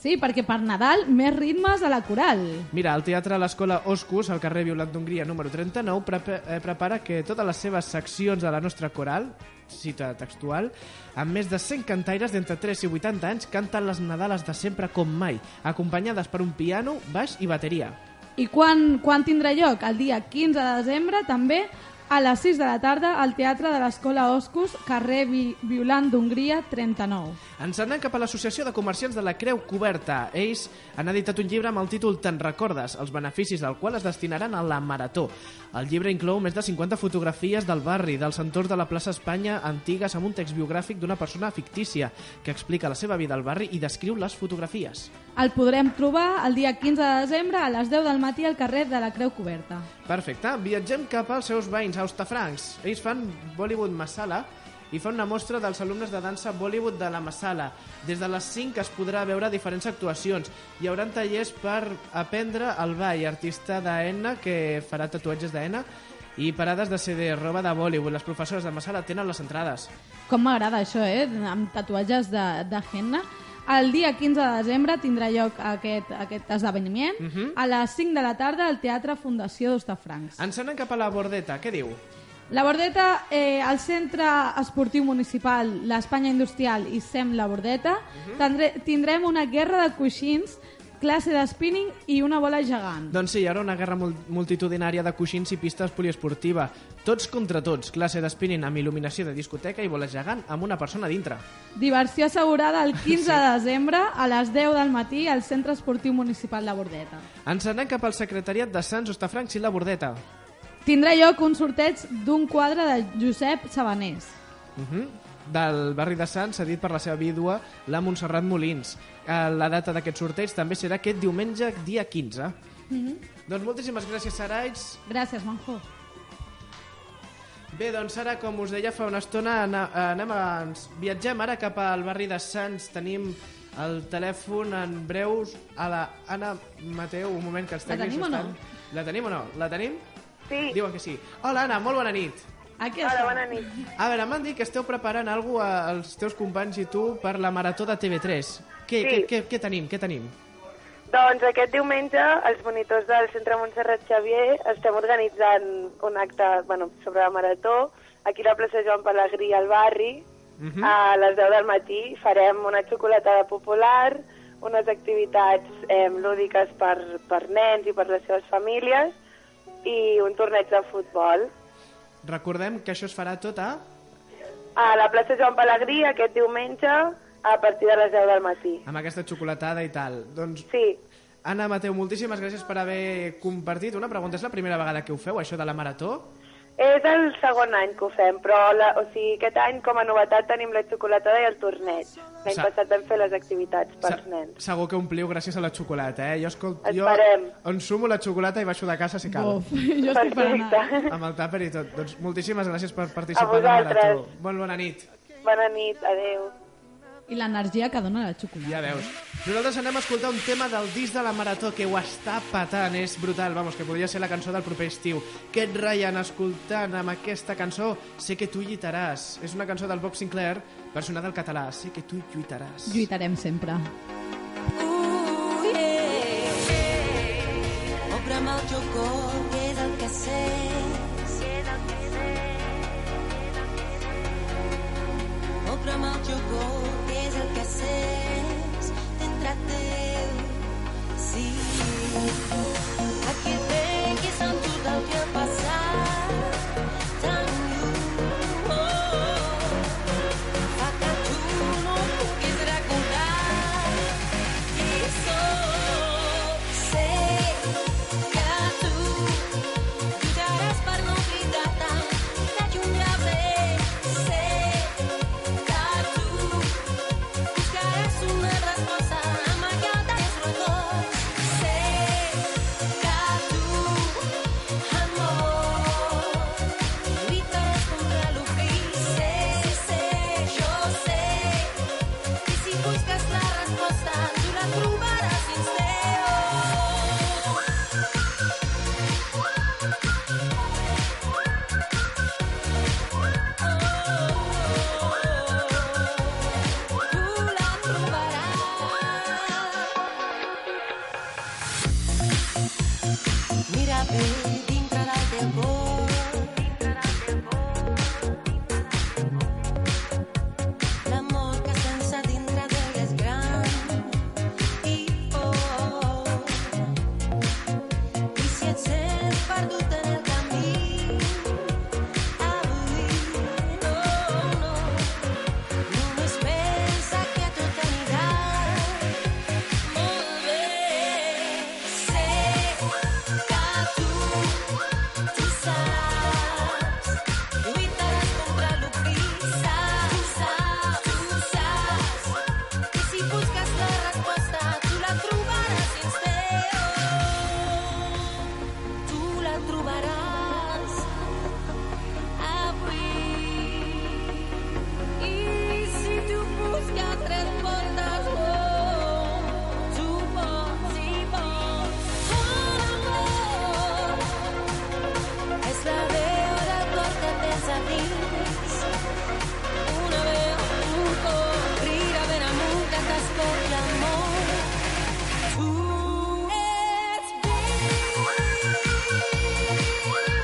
E: Sí, perquè per Nadal més ritmes a la coral.
D: Mira, el Teatre a l'Escola Oscus, al carrer Violant d'Hongria número 39, prepa eh, prepara que totes les seves seccions de la nostra coral, cita textual, amb més de 100 cantaires d'entre 3 i 80 anys, canten les Nadales de sempre com mai, acompanyades per un piano, baix i bateria.
E: I quan, quan tindrà lloc? El dia 15 de desembre, també a les 6 de la tarda, al Teatre de l'Escola Oscus, carrer Vi Violant d'Hongria, 39.
D: Ens anem cap a l'Associació de Comerciants de la Creu Coberta. Ells han editat un llibre amb el títol Te'n recordes, els beneficis del qual es destinaran a la Marató. El llibre inclou més de 50 fotografies del barri, dels entorns de la plaça Espanya antigues amb un text biogràfic d'una persona fictícia que explica la seva vida al barri i descriu les fotografies.
E: El podrem trobar el dia 15 de desembre a les 10 del matí al carrer de la Creu Coberta.
D: Perfecte, viatgem cap als seus veïns, a Ostafrancs. Ells fan Bollywood Masala i fan una mostra dels alumnes de dansa Bollywood de la Masala. Des de les 5 es podrà veure diferents actuacions. Hi haurà tallers per aprendre el ball, artista d'Ena que farà tatuatges d'Ena i parades de CD, roba de Bollywood. Les professores de Masala tenen les entrades.
E: Com m'agrada això, eh? Amb tatuatges de, de henna. El dia 15 de desembre tindrà lloc aquest, aquest esdeveniment a les 5 de la tarda al Teatre Fundació d'Ostafrancs.
D: Ens anem cap a la bordeta, què diu?
E: La Bordeta, eh, el centre esportiu municipal, l'Espanya Industrial i SEM La Bordeta,
D: Mhm.
E: tindre, tindrem una guerra de coixins, classe de spinning i una bola gegant.
D: Doncs sí, hi haurà una guerra mul- multitudinària de coixins i pistes poliesportiva. Tots contra tots, classe d'espinning amb il·luminació de discoteca i bola gegant amb una persona dintre.
E: Diversió assegurada el 15 de desembre a les 10 del matí al centre esportiu municipal La Bordeta.
D: Ens anem cap al secretariat de Sants, Ostafrancs i la Bordeta.
E: Tindrà lloc un sorteig d'un quadre de Josep Sabanés.
D: Uh -huh. del barri de Sants cedit per la seva vídua, la Montserrat Molins. Eh, La data d'aquest sorteig també serà aquest diumenge, dia 15.
E: Mhm.
D: Doncs moltíssimes gràcies, Saraix.
E: Gràcies, Manjo.
D: Bé, doncs ara, com us deia fa una estona, ana- anem abans. Viatgem ara cap al barri de Sants. Tenim el telèfon en breus a la Anna Mateu. Un moment, que els
E: La
D: tècnics
E: tenim o no?
D: estan- La tenim o no? La tenim?
K: Sí.
D: Diuen que sí. Hola, Anna, molt bona nit.
E: Aquí
K: Hola,
E: estem.
K: bona nit.
D: A veure, m'han dit que esteu preparant alguna cosa als teus companys i tu per la marató de TV3. Què,
K: Sí.
D: què, què, què tenim? Què tenim?
K: Doncs aquest diumenge els monitors del Centre Montserrat Xavier estem organitzant un acte bueno, sobre la marató aquí a la plaça Joan Pellegrí al barri
D: Mhm.
K: a les 10 del matí farem una xocolatada popular, unes activitats eh, lúdiques per, per nens i per les seves famílies i un torneig de futbol.
D: Recordem que això es farà tot a...
K: A la plaça Joan Pellegrí aquest diumenge a partir de les 10 del matí.
D: amb aquesta xocolatada i tal. Doncs
K: Sí,
D: Anna Mateu, moltíssimes gràcies per haver compartit. Una pregunta, és la primera vegada que ho feu, això de la marató?
K: És el segon any que ho fem, però la, o sigui, aquest any com a novetat tenim la xocolatada i el torneig. L'any
D: Sa-
K: passat vam fer les activitats pels
D: Se-
K: nens.
D: Segur que ompliu gràcies a la xocolata, eh? Jo, escolt, jo
K: Esperem.
D: ensumo la xocolata i baixo de casa si cal.
E: Bof, jo estic per anar.
D: Amb el tàper i tot. Doncs moltíssimes gràcies per participar en la
K: vosaltres.
D: marató. Molt bona nit.
K: Bona nit, adeu.
E: I l'energia que dona la xocolata.
D: Ja veus. Nosaltres anem a escoltar un tema del disc de la Marató que ho està patant, és brutal, vamos, que podria ser la cançó del proper estiu. Aquest Ryan escoltant amb aquesta cançó, sé que tu lluitaràs. És una cançó del Bob Sinclair, versionada al català, sé que tu lluitaràs.
E: Lluitarem sempre.
A: Obre'm el jocor, que és el que sé. Obre'm el jocor, que és el que sé. Entre teu, sí. Aquí et veig i sento del que ha passat. Tan lluny, oh, oh. Fa que tu no em puguis recordar. I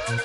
A: oh.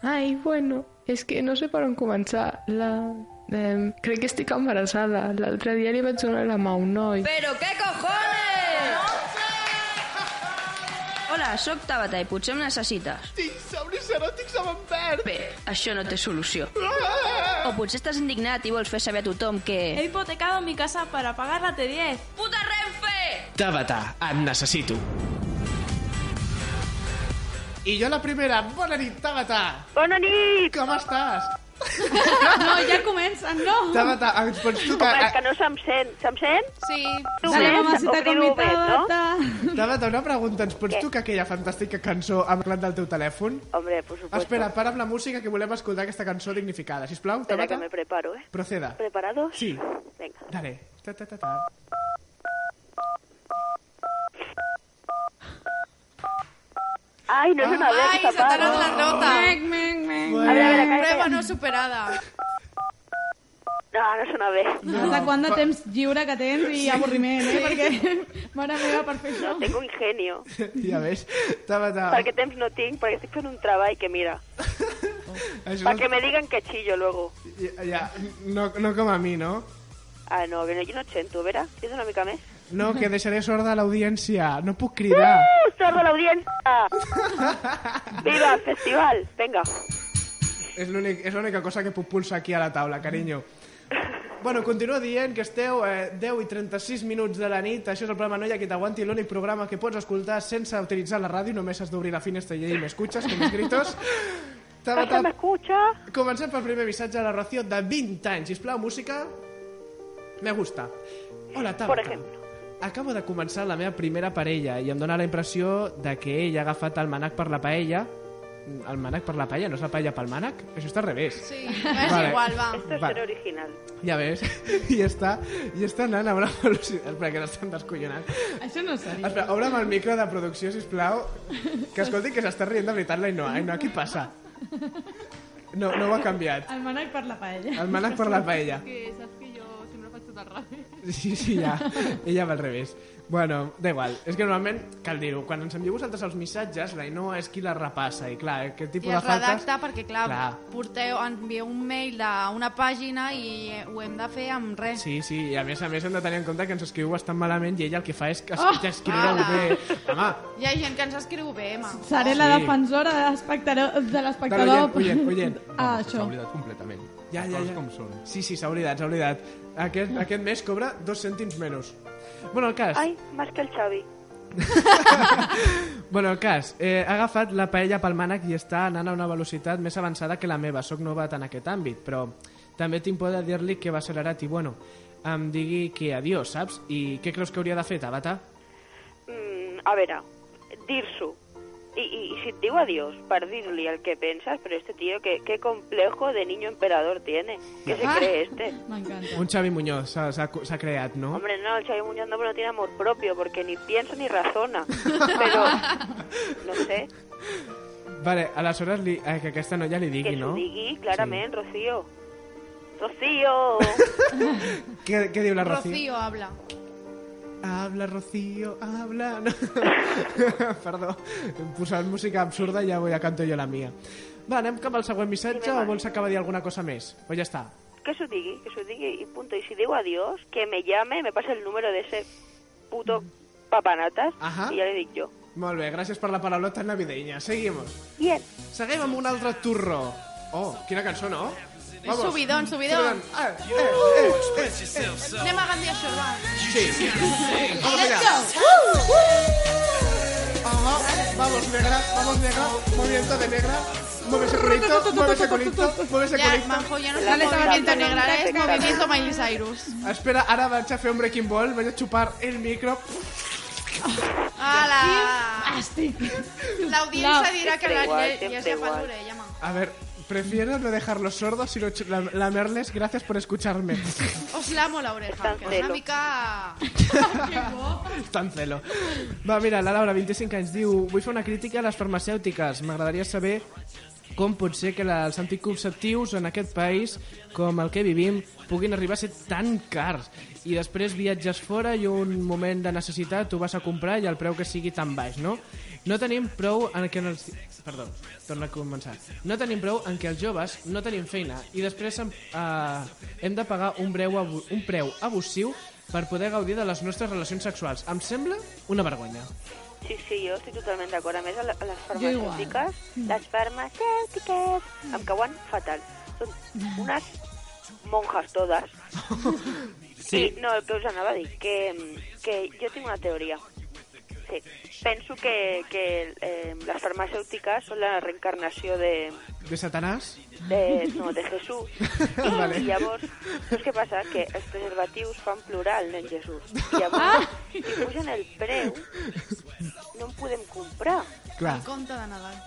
G: Ai, bueno, és que no sé per on començar. La... Eh, crec que estic embarassada. L'altre dia li vaig donar la mà a un noi.
L: Però què cojones? Hola, sóc Tabata i potser em necessites.
D: Tinc sabris eròtics amb en verd.
L: Bé, això no té solució. O potser estàs indignat i vols fer saber a tothom que...
M: He hipotecado mi casa para pagar la T10. ¡Puta Renfe!
D: Tabata, et necessito. I jo la primera. Bona nit, Tabata.
H: Bona nit!
D: Com estàs?
E: No, ja comencen, no!
D: Tabata, ens pots tocar...
H: Home, és que no se'm sent. Se'm sent?
C: Sí.
H: Tu
E: Dale,
H: ves?
E: mamacita,
H: Obrir-ho
E: con mi
H: bé, no?
D: Tabata, una pregunta. Ens pots tocar aquella fantàstica cançó amb clat del teu telèfon?
H: Hombre, por supuesto.
D: Espera, para amb la música que volem escoltar aquesta cançó dignificada. Sisplau,
H: Espera que
D: Tabata,
H: me preparo, ¿eh?
D: proceda.
H: ¿Preparados?
D: Sí.
H: Venga.
D: Dale. Ta, ta, ta, ta.
H: Ay, no es una vez,
C: Ah, Ai,
H: papá.
C: saltaron la nota. Mec, mec, mec.
H: A ver, a ver, acá.
C: Prueba no superada.
H: No, no es una vez.
E: No. Nota quant de temps lliure que tens i avorriment, eh? Perquè, mare meva, per fer això...
H: Tengo ingenio.
D: Ja ves.
C: Ah.
D: Tabata,
H: Para que temps no tinc, para que estoy con un trabajo que mira.
D: això
H: Para que me digan que chillo luego.
D: Ja, ja. No, no com a mi, no?
H: Ah, no, que no, yo no chento, ¿verdad? Es una mica més.
D: No, que deixaré sorda a l'audiència. No puc cridar.
H: ¡Uh, sordo la audiencia! ¡Viva el festival! Venga.
D: És l'únic- és l'única cosa que puc pulsar aquí a la taula, carinyo. Bueno, continua dient que esteu eh, 10 i 36 minuts de la nit. Això és el programa Noia que t'aguanti, l'únic programa que pots escoltar sense utilitzar la ràdio. Només has d'obrir la finestra i ahí m'escutxes, que m'escritos.
H: ¿Casa me escucha?
D: Comencem pel primer missatge a la Rocío de 20 anys. Sisplau, música... Me gusta. Hola, Tabata. Acabo de començar la meva primera parella i em dóna la impressió de que ell ha agafat el manac per la paella. El manac per la paella, no és la paella pel manac? Això està al revés.
C: Sí, és
D: és Vale. igual,
C: igual, va.
H: Esto es
D: Vale.
H: ser original.
D: Ja ves, i està, i està anant amb una velocitat... Espera, que l'estan descollonant.
E: Això no seria.
D: Espera, obre'm el micro de producció, si plau. que escolti que s'està rient de veritat la Ainhoa. Ainhoa, què passa? No, no ho ha canviat.
E: El manac per la paella.
D: El manac per la paella.
N: Que saps que jo sempre faig tot al ràpid.
D: Sí, sí, ja. Ella va al revés. Bueno, da igual. És que normalment, cal dir-ho, quan ens envieu vosaltres els missatges, la Ainhoa és qui la repassa. I clar, aquest
C: I
D: tipus de
C: es
D: faltes...
C: redacta perquè, clar,
D: Clar.
C: porteu, envieu un mail d'una pàgina i ho hem de fer amb res.
D: Sí, sí, i a més a més hem de tenir en compte que ens escriu bastant malament i ella el que fa és que es-
C: Oh,
D: que escriureu
C: ala.
D: bé. Home,
C: Hi ha gent que ens escriu bé, ma.
E: Seré la
D: Sí.
E: defensora de l'espectador... De l'espectador...
D: oient, oient.
O: S'ha
E: Ah, això.
O: oblidat completament.
D: Ja,
O: Les
D: ja,
O: coses
D: ja.
O: com són.
D: Sí, sí, s'ha oblidat, s'ha oblidat. Aquest, aquest mes cobra dos cèntims menys. Bueno, el cas...
H: Ay, más que el Xavi.
D: Bueno, el cas, eh, ha agafat la paella pel mànec i està anant a una velocitat més avançada que la meva. Soc nova en aquest àmbit, però també tinc por de dir-li que va accelerat i, bueno, em digui que adiós, saps? I què creus que hauria de fer, Tabata?
H: Mm, a veure, dir-s'ho. I, i, I si et diu adiós per dir-li el que penses, però este tío, qué, qué complejo de niño emperador tiene. ¿Qué se
E: Ah.
H: cree este?
E: M'encanta.
D: Un Xavi Muñoz s'ha- s'ha cu- s'ha creat, no?
H: Hombre, no, el Xavi Muñoz no, no tiene amor propio, porque ni piensa ni razona. Pero, no sé,
D: Vale, aleshores li, eh, que aquesta noia li
H: que
D: digui,
H: s'ho
D: no?
H: digui clarament, Rocío. Rocío!
D: Què, què diu la Rocío?
C: Rocío habla.
D: Habla, Rocío, habla. No. Perdó, hem posat música absurda i ja voy a canto jo la mia. Va, anem cap al següent missatge o vols acabar de dir alguna cosa més? O ja està?
H: Que s'ho digui, que s'ho digui, y punto. Y si digo adiós, que me llame, me pase el número de ese puto papanatas,
D: Ajá.
H: y ya le dic jo.
D: Molt bé, gràcies per la paraulota navideña. Seguimos.
H: Bien.
D: Seguim amb un altre turró. Oh, quina cançó, no? Vamos.
C: Subidón, subidón.
D: Ah, eh, eh, eh, eh.
C: Anem a Gandia Xorban.
D: Sí. Vamos allá.
C: Uh,
D: Ajá. Vamos, negra, vamos, negra. Movimiento de negra. Mueve ese culito, mueve ese culito, mueve ese
C: Ya,
D: culito.
C: Manjo, ya no
H: La
C: es movimiento
H: letra
C: negra, ahora es
H: perfecta.
C: movimiento Miley Cyrus.
D: Ah, Espera, ahora vaig a fer un breaking ball, vaig a xupar el micro.
C: ¡Hala!
E: Estic...
C: La audiencia
E: No,
C: dirá Ah. que
H: siempre
C: la
H: igual,
C: ya- ya
H: siempre
C: se
H: igual.
C: madure, llama.
D: A ver, prefiero no dejarlos sordos, sino ch- la- lamerles. Gracias por escucharme.
C: Os lamo la oreja, que és
H: Cancelo.
C: una mica...
D: Tan celo. Va, mira, la Laura, 25 anys, diu Vull fer una crítica a les farmacèutiques. M'agradaria saber com pot ser que la- els anticonceptius en aquest país, com el que vivim, puguin arribar a ser tan cars. I després viatges fora i un moment de necessitat tu vas a comprar i el preu que sigui tan baix, no? No tenim prou en que... Els... Perdó, torna a començar. No tenim prou en que els joves no tenim feina i després em- eh, hem de pagar un, breu abu un preu abusiu per poder gaudir de les nostres relacions sexuals. Em sembla una vergonya.
H: Sí, sí, jo estic totalment d'acord. A més, a la- a les
D: Jo igual. Mm.
H: farmacèutiques, les farmacèutiques, em cauen fatal. Són
D: Mm.
H: unes monjas totes. Sí. I, no, el que us anava a dir, que, que jo tinc una teoria. Sí. Penso que, que eh, les farmacèutiques són la reencarnació de,
D: De Satanàs?
H: de, Eh, no, de Jesús. I,
D: Vale.
H: i llavors, saps què passa? Que els preservatius fan plural, nen Jesús. I
C: Ah.
H: llavors, si pugen el preu, no en podem comprar.
D: Clar.
C: Compte de Nadal.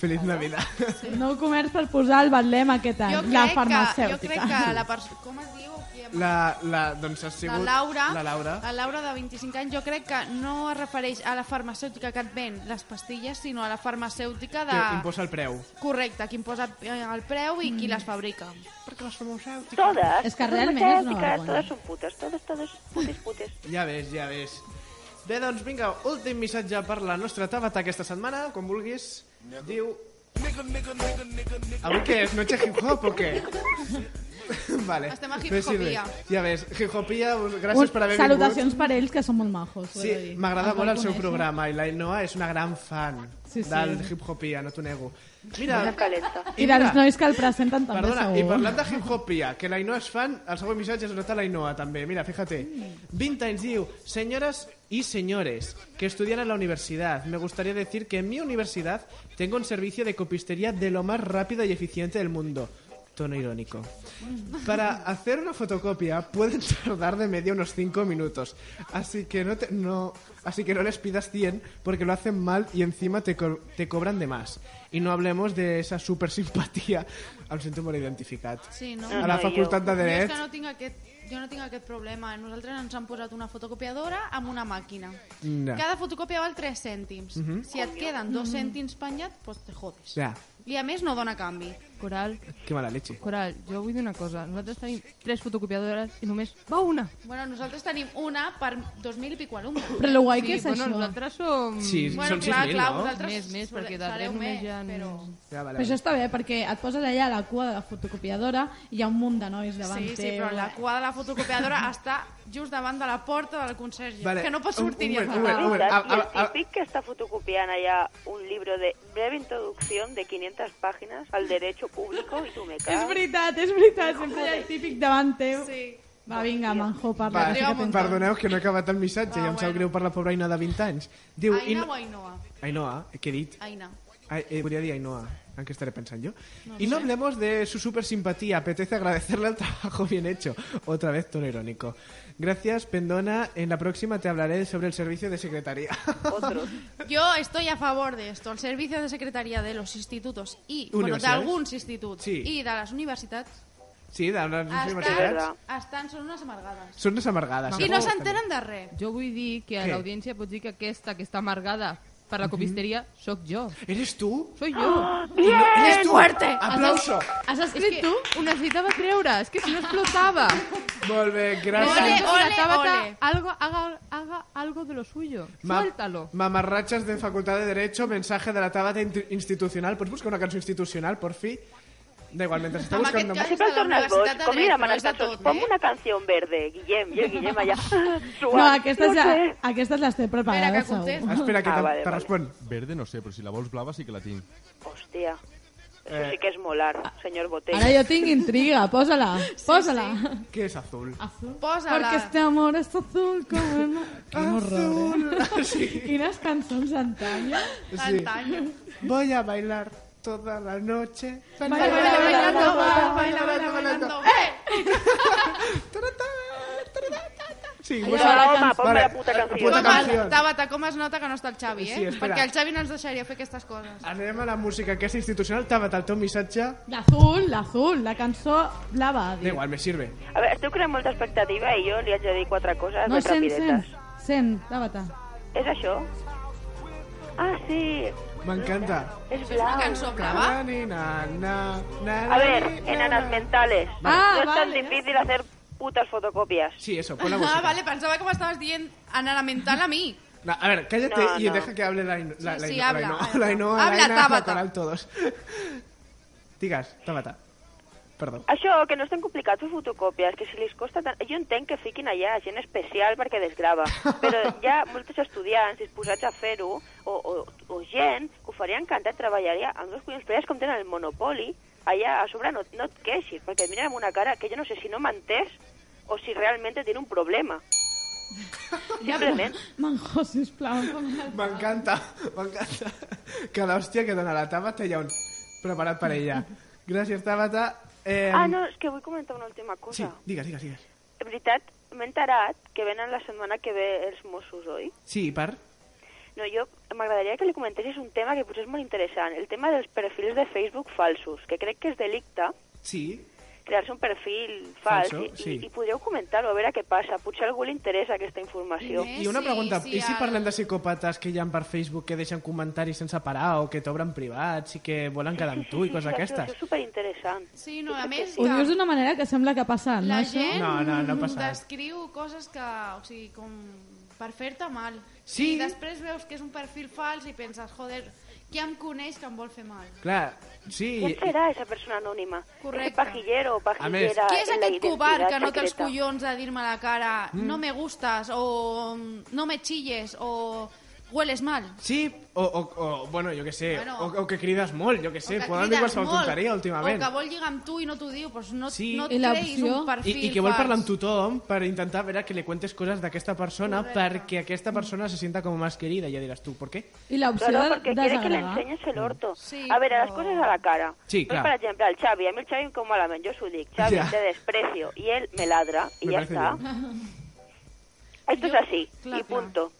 D: Feliç Navidad.
E: No comerç per posar el batlem aquest any,
C: Jo crec
E: la
C: que, jo
E: farmacèutica.
C: crec que la persona... Com es diu? Qui em-
D: La, la, doncs ha sigut...
C: La Laura,
D: La Laura.
C: la Laura de 25 anys, jo crec que no es refereix a la farmacèutica que et ven les pastilles, sinó a la farmacèutica de...
D: Que imposa el preu.
C: Correcte, qui em posa eh, el preu i qui
G: Mm.
C: les fabrica.
D: Perquè les farmacèutiques...
H: Todas.
C: És que realment és una
H: Todas,
C: vergonya.
H: todas son putas, todas, todas, putes, putes.
D: Ja ves, ja ves. Bé, doncs vinga, últim missatge per la nostra tabata aquesta setmana, com vulguis. Diu... Avui què és? Noche hip-hop o què? vale.
E: Estem a
D: no he sigut res.
E: hip-hopia.
D: Ja ves, hip-hopia, us- gràcies per haver vingut.
E: Salutacions per ells, que són molt majos. ho he
D: Sí,
E: de dir.
D: m'agrada
E: Em
D: molt el
E: cal
D: seu
E: conèixer.
D: programa i la Ainhoa és una gran fan
E: Sí, sí.
D: del hip-hopia, no t'ho nego. Mira,
E: Molt
H: calenta.
E: I dels nois que el presenten també,
D: Perdona,
E: segur.
D: i parlant de hip-hopia, que la Ainhoa és fan, el següent missatge és una tal Ainhoa, també. Mira, fíjate. 20 anys diu, señoras y señores que estudian en la universidad, me gustaría decir que en mi universidad tengo un servicio de copistería de lo más rápido y eficiente del mundo. Tono irónico. Para hacer una fotocopia pueden tardar de media unos 5 minutos. Así que no, te- no, así que no les pidas 100 porque lo hacen mal y encima te, co- te cobran de más. Y no hablemos de esa super simpatía. Em sento molt identificat.
C: Sí, no?
D: A la facultat de
C: Jo és
D: Dret.
C: que no tinc aquest, jo no tinc aquest problema. Nosaltres ens han posat una fotocopiadora amb una màquina.
D: No.
C: Cada fotocòpia val 3 cèntims.
D: Mhm.
C: Si et queden 2 cèntims penyats, doncs te jodes.
D: Ja,
C: I a més no dona canvi.
G: Coral,
D: que mala leche.
G: Coral, jo vull dir una cosa. Nosaltres tenim tres fotocopiadores i només va una.
C: Bueno, nosaltres tenim una per 2.000 i pico alumnes.
G: Però lo guai que és
C: bueno,
G: això.
C: Nosaltres
G: som...
D: Sí,
C: bueno,
D: són
C: clar,
D: 6.000,
C: clar,
D: no?
C: vosaltres
G: Més, més, perquè de
C: fareu
G: tres només
C: més,
G: ja no-
C: Però...
D: Ja, vale,
E: Però això està bé, perquè et poses allà a la cua de la fotocopiadora i hi ha un munt de nois davant
C: Sí, sí,
E: teu.
C: però la cua de la fotocopiadora està just davant de la porta del conserge,
E: Vale,
C: que no pot
E: un-
C: sortir
E: un
C: ni a
E: moment,
C: faltar.
E: un moment,
H: Todas.
E: a-
H: Y el
E: a- a-
H: típico que está fotocopiando allá un libro de breve introducción de 500 páginas al derecho público y tú me
E: És
H: caes.
E: veritat, és veritat, sempre hi ha el típic davant teu. Sí. Va, vinga, manjo, parla.
D: Va,
E: que sé que tens-
D: perdoneu que no he acabat el missatge i em sap greu per la pobra Aina de 20 anys. Diu,
C: Ah, Aina
D: i
C: o
D: no-
C: Ainhoa?
D: Ainhoa, què he dit?
C: Aina.
D: Ay, eh, podría decir Ainhoa, aunque estaré pensando yo.
C: No
D: y no
C: sé.
D: hablemos de su super simpatía. Apetece agradecerle el trabajo bien hecho. Otra vez tono irónico. Gracias, Pendona. En la próxima te hablaré sobre el servicio de secretaría.
C: Yo estoy a favor de esto. El servicio de secretaría de los institutos y, bueno, de
D: Universidades.
C: alguns instituts
D: Sí.
C: i de les universitats
D: sí, de hablar de
C: estan,
D: universidades.
C: estan, són unes amargades.
D: Son unas amargadas. ¿eh?
C: I no s'enteren de res.
G: Jo vull dir que a
D: Què?
G: l'audiència pots dir que aquesta que està amargada per la copisteria sóc jo.
D: ¿Eres tú?
G: Soy jo.
D: Ah, bien! Eres tu.
G: fuerte!
D: Aplauso.
G: Has, has escrit tu? Ho necessitava treure, és que si no explotava.
D: Volve,
G: Necesito
D: gracias.
G: que la
C: ole,
G: Tabata
C: ole.
G: Algo, haga, haga algo de lo suyo.
D: Ma-
G: Suéltalo.
D: mamarrachas de Facultad de Derecho, mensaje de la Tabata intu- institucional. Pues busca una canción institucional, por fin. Da igual, mientras está
H: Home,
D: buscando...
H: Així pel tornar al bosc, com li demanes a tots,
E: ¿eh?
H: pon una canció verde, Guillem, i el Guillem allà, suat,
E: No, aquestes,
H: no
E: ja,
H: sé.
E: aquestes les té preparades, segur.
D: Espera, que
H: Ah,
D: te,
H: vale,
D: te
H: vale.
D: respon.
P: Verde no sé, però si la vols blava sí que la tinc.
H: Hòstia, això
D: Eh.
H: sí que és molar, senyor Botella.
E: Ara jo tinc intriga, posa-la, posa-la.
D: ¿Qué es azul?
C: Posa-la.
E: Porque este amor es azul com el... mar. Quin horror,
D: eh?
E: Quines cançons d'antanyo.
C: Antaño.
D: Voy a bailar toda la noche.
E: Baila, baila, bailando, baila, baila, baila,
D: bailando. Sí,
C: Ai,
D: pues
C: Tabata,
D: ahora-
C: home,
D: vale, Puta
C: Com es-
D: canción.
C: Tabata, com es nota que no està el Xavi, eh?
D: Sí, espera.
C: Perquè el Xavi no ens deixaria fer aquestes coses.
D: Anem a la música aquesta institucional. Tabata, el teu missatge...
E: L'azul, l'azul, la cançó blava. ha dit.
D: Da igual, me sirve.
H: A veure, esteu creant molta expectativa i jo li haig de dir quatre coses
E: No,
H: ben
E: sent, sent,
H: rapidetes.
E: sent, Tabata.
H: És això? Ah, sí,
D: M'encanta.
H: És blau.
D: Na, ni, na, na, na, na,
H: A ver,
D: ni, na,
H: enanas
D: na.
H: mentales.
C: Ah,
H: no es tan
C: vale.
H: difícil hacer putas fotocopias.
D: Sí, eso, pon la música.
C: Ah, vale, pensaba que m'estaves dient anar mental a mi.
D: Na, a ver, cállate
C: No,
D: y
C: no.
D: deja que hable la, Aino- la,
C: Sí,
D: la,
C: sí,
D: Aino- la
C: habla,
D: Aino-
C: habla.
D: la Ainoa, la
C: Habla,
D: Aina, la
C: Tabata.
D: Coral, todos. Digas, Tabata. Perdó.
H: Això, que no és tan complicat fer fotocòpies, que si li costa tant... Jo entenc que fiquin allà gent especial perquè desgrava, però hi ha molts estudiants disposats a fer-ho, o, o, o gent que ho faria encantat, treballaria amb dos collons, però ja és com tenen el monopoli, allà a sobre no, no et queixis, perquè et miren amb una cara que jo no sé si no m'ha entès o si realment tiene un problema. eh? Simplement.
E: Manjo, sisplau.
D: M'encanta, m'encanta. Cada hòstia que dona la Tabata hi ha un preparat per ella. Gràcies, Tabata. Eh,
H: Ah, no, és que vull comentar una última cosa.
D: Sí, digues, digues, digues.
H: De veritat, m'he enterat que venen la setmana que ve els Mossos, oi?
D: Sí, per...
H: No, jo m'agradaria que li comentessis un tema que potser és molt interessant, el tema dels perfils de Facebook falsos, que crec que és delicte
D: Sí,
H: crear-se un perfil fals
D: Falso,
H: i,
D: sí.
H: i, i podeu comentar-ho, a veure què passa. Potser a algú li interessa aquesta informació.
D: I una pregunta, i si parlem de psicòpates que hi ha per Facebook que deixen comentaris sense parar o que t'obren privats i que volen quedar amb tu i coses d'aquestes?
H: és superinteressant.
C: Sí, no, a més...
E: Ho
C: que-
E: dius d'una manera que sembla que ha passat,
C: La
E: no, això?
C: gent
D: No, no, no passa res.
C: descriu coses que, o sigui, com per fer-te mal.
D: Sí.
C: I després veus que és un perfil fals i penses, joder, qui em coneix que em vol fer mal?
D: Clar, sí...
H: Què serà aquesta persona anònima?
C: Correcte.
H: Este pajillero o pajillera...
D: A més-
C: Qui és
H: en la
C: aquest covard que no té els
H: identitat secreta?
C: collons de dir-me a la cara
D: Mm.
C: no me gustas o mm, no me chilles o hueles mal?
D: Sí, o, o, o bueno, jo que sé,
C: Bueno.
D: o, o que crides molt, jo que sé,
C: O que
D: poden dir
C: crides
D: qualsevol
C: molt,
D: tonteria últimament.
C: O que vol lligar amb tu i no t'ho diu, doncs no,
D: Sí.
C: no
D: I
C: et
D: la
C: creïs un
D: I,
C: perfil
D: I que vol
C: fals.
D: parlar amb tothom per intentar veure que li cuentes coses d'aquesta persona perquè aquesta persona se sienta com més querida, ja diràs tu, per què?
E: I l'opció
H: Claro,
E: de
H: porque quiere que le
E: desagradar.
H: enseñes el orto. a ver, a las cosas a la cara.
D: Sí,
H: Pues,
D: claro.
H: por ejemplo, al Xavi, a mí el Xavi me cae malamente, yo su dic, Xavi,
D: Ya.
H: te desprecio, y él me ladra, y
D: Me
H: ya
D: parece
H: está. Esto es así,
C: clar,
H: y punto.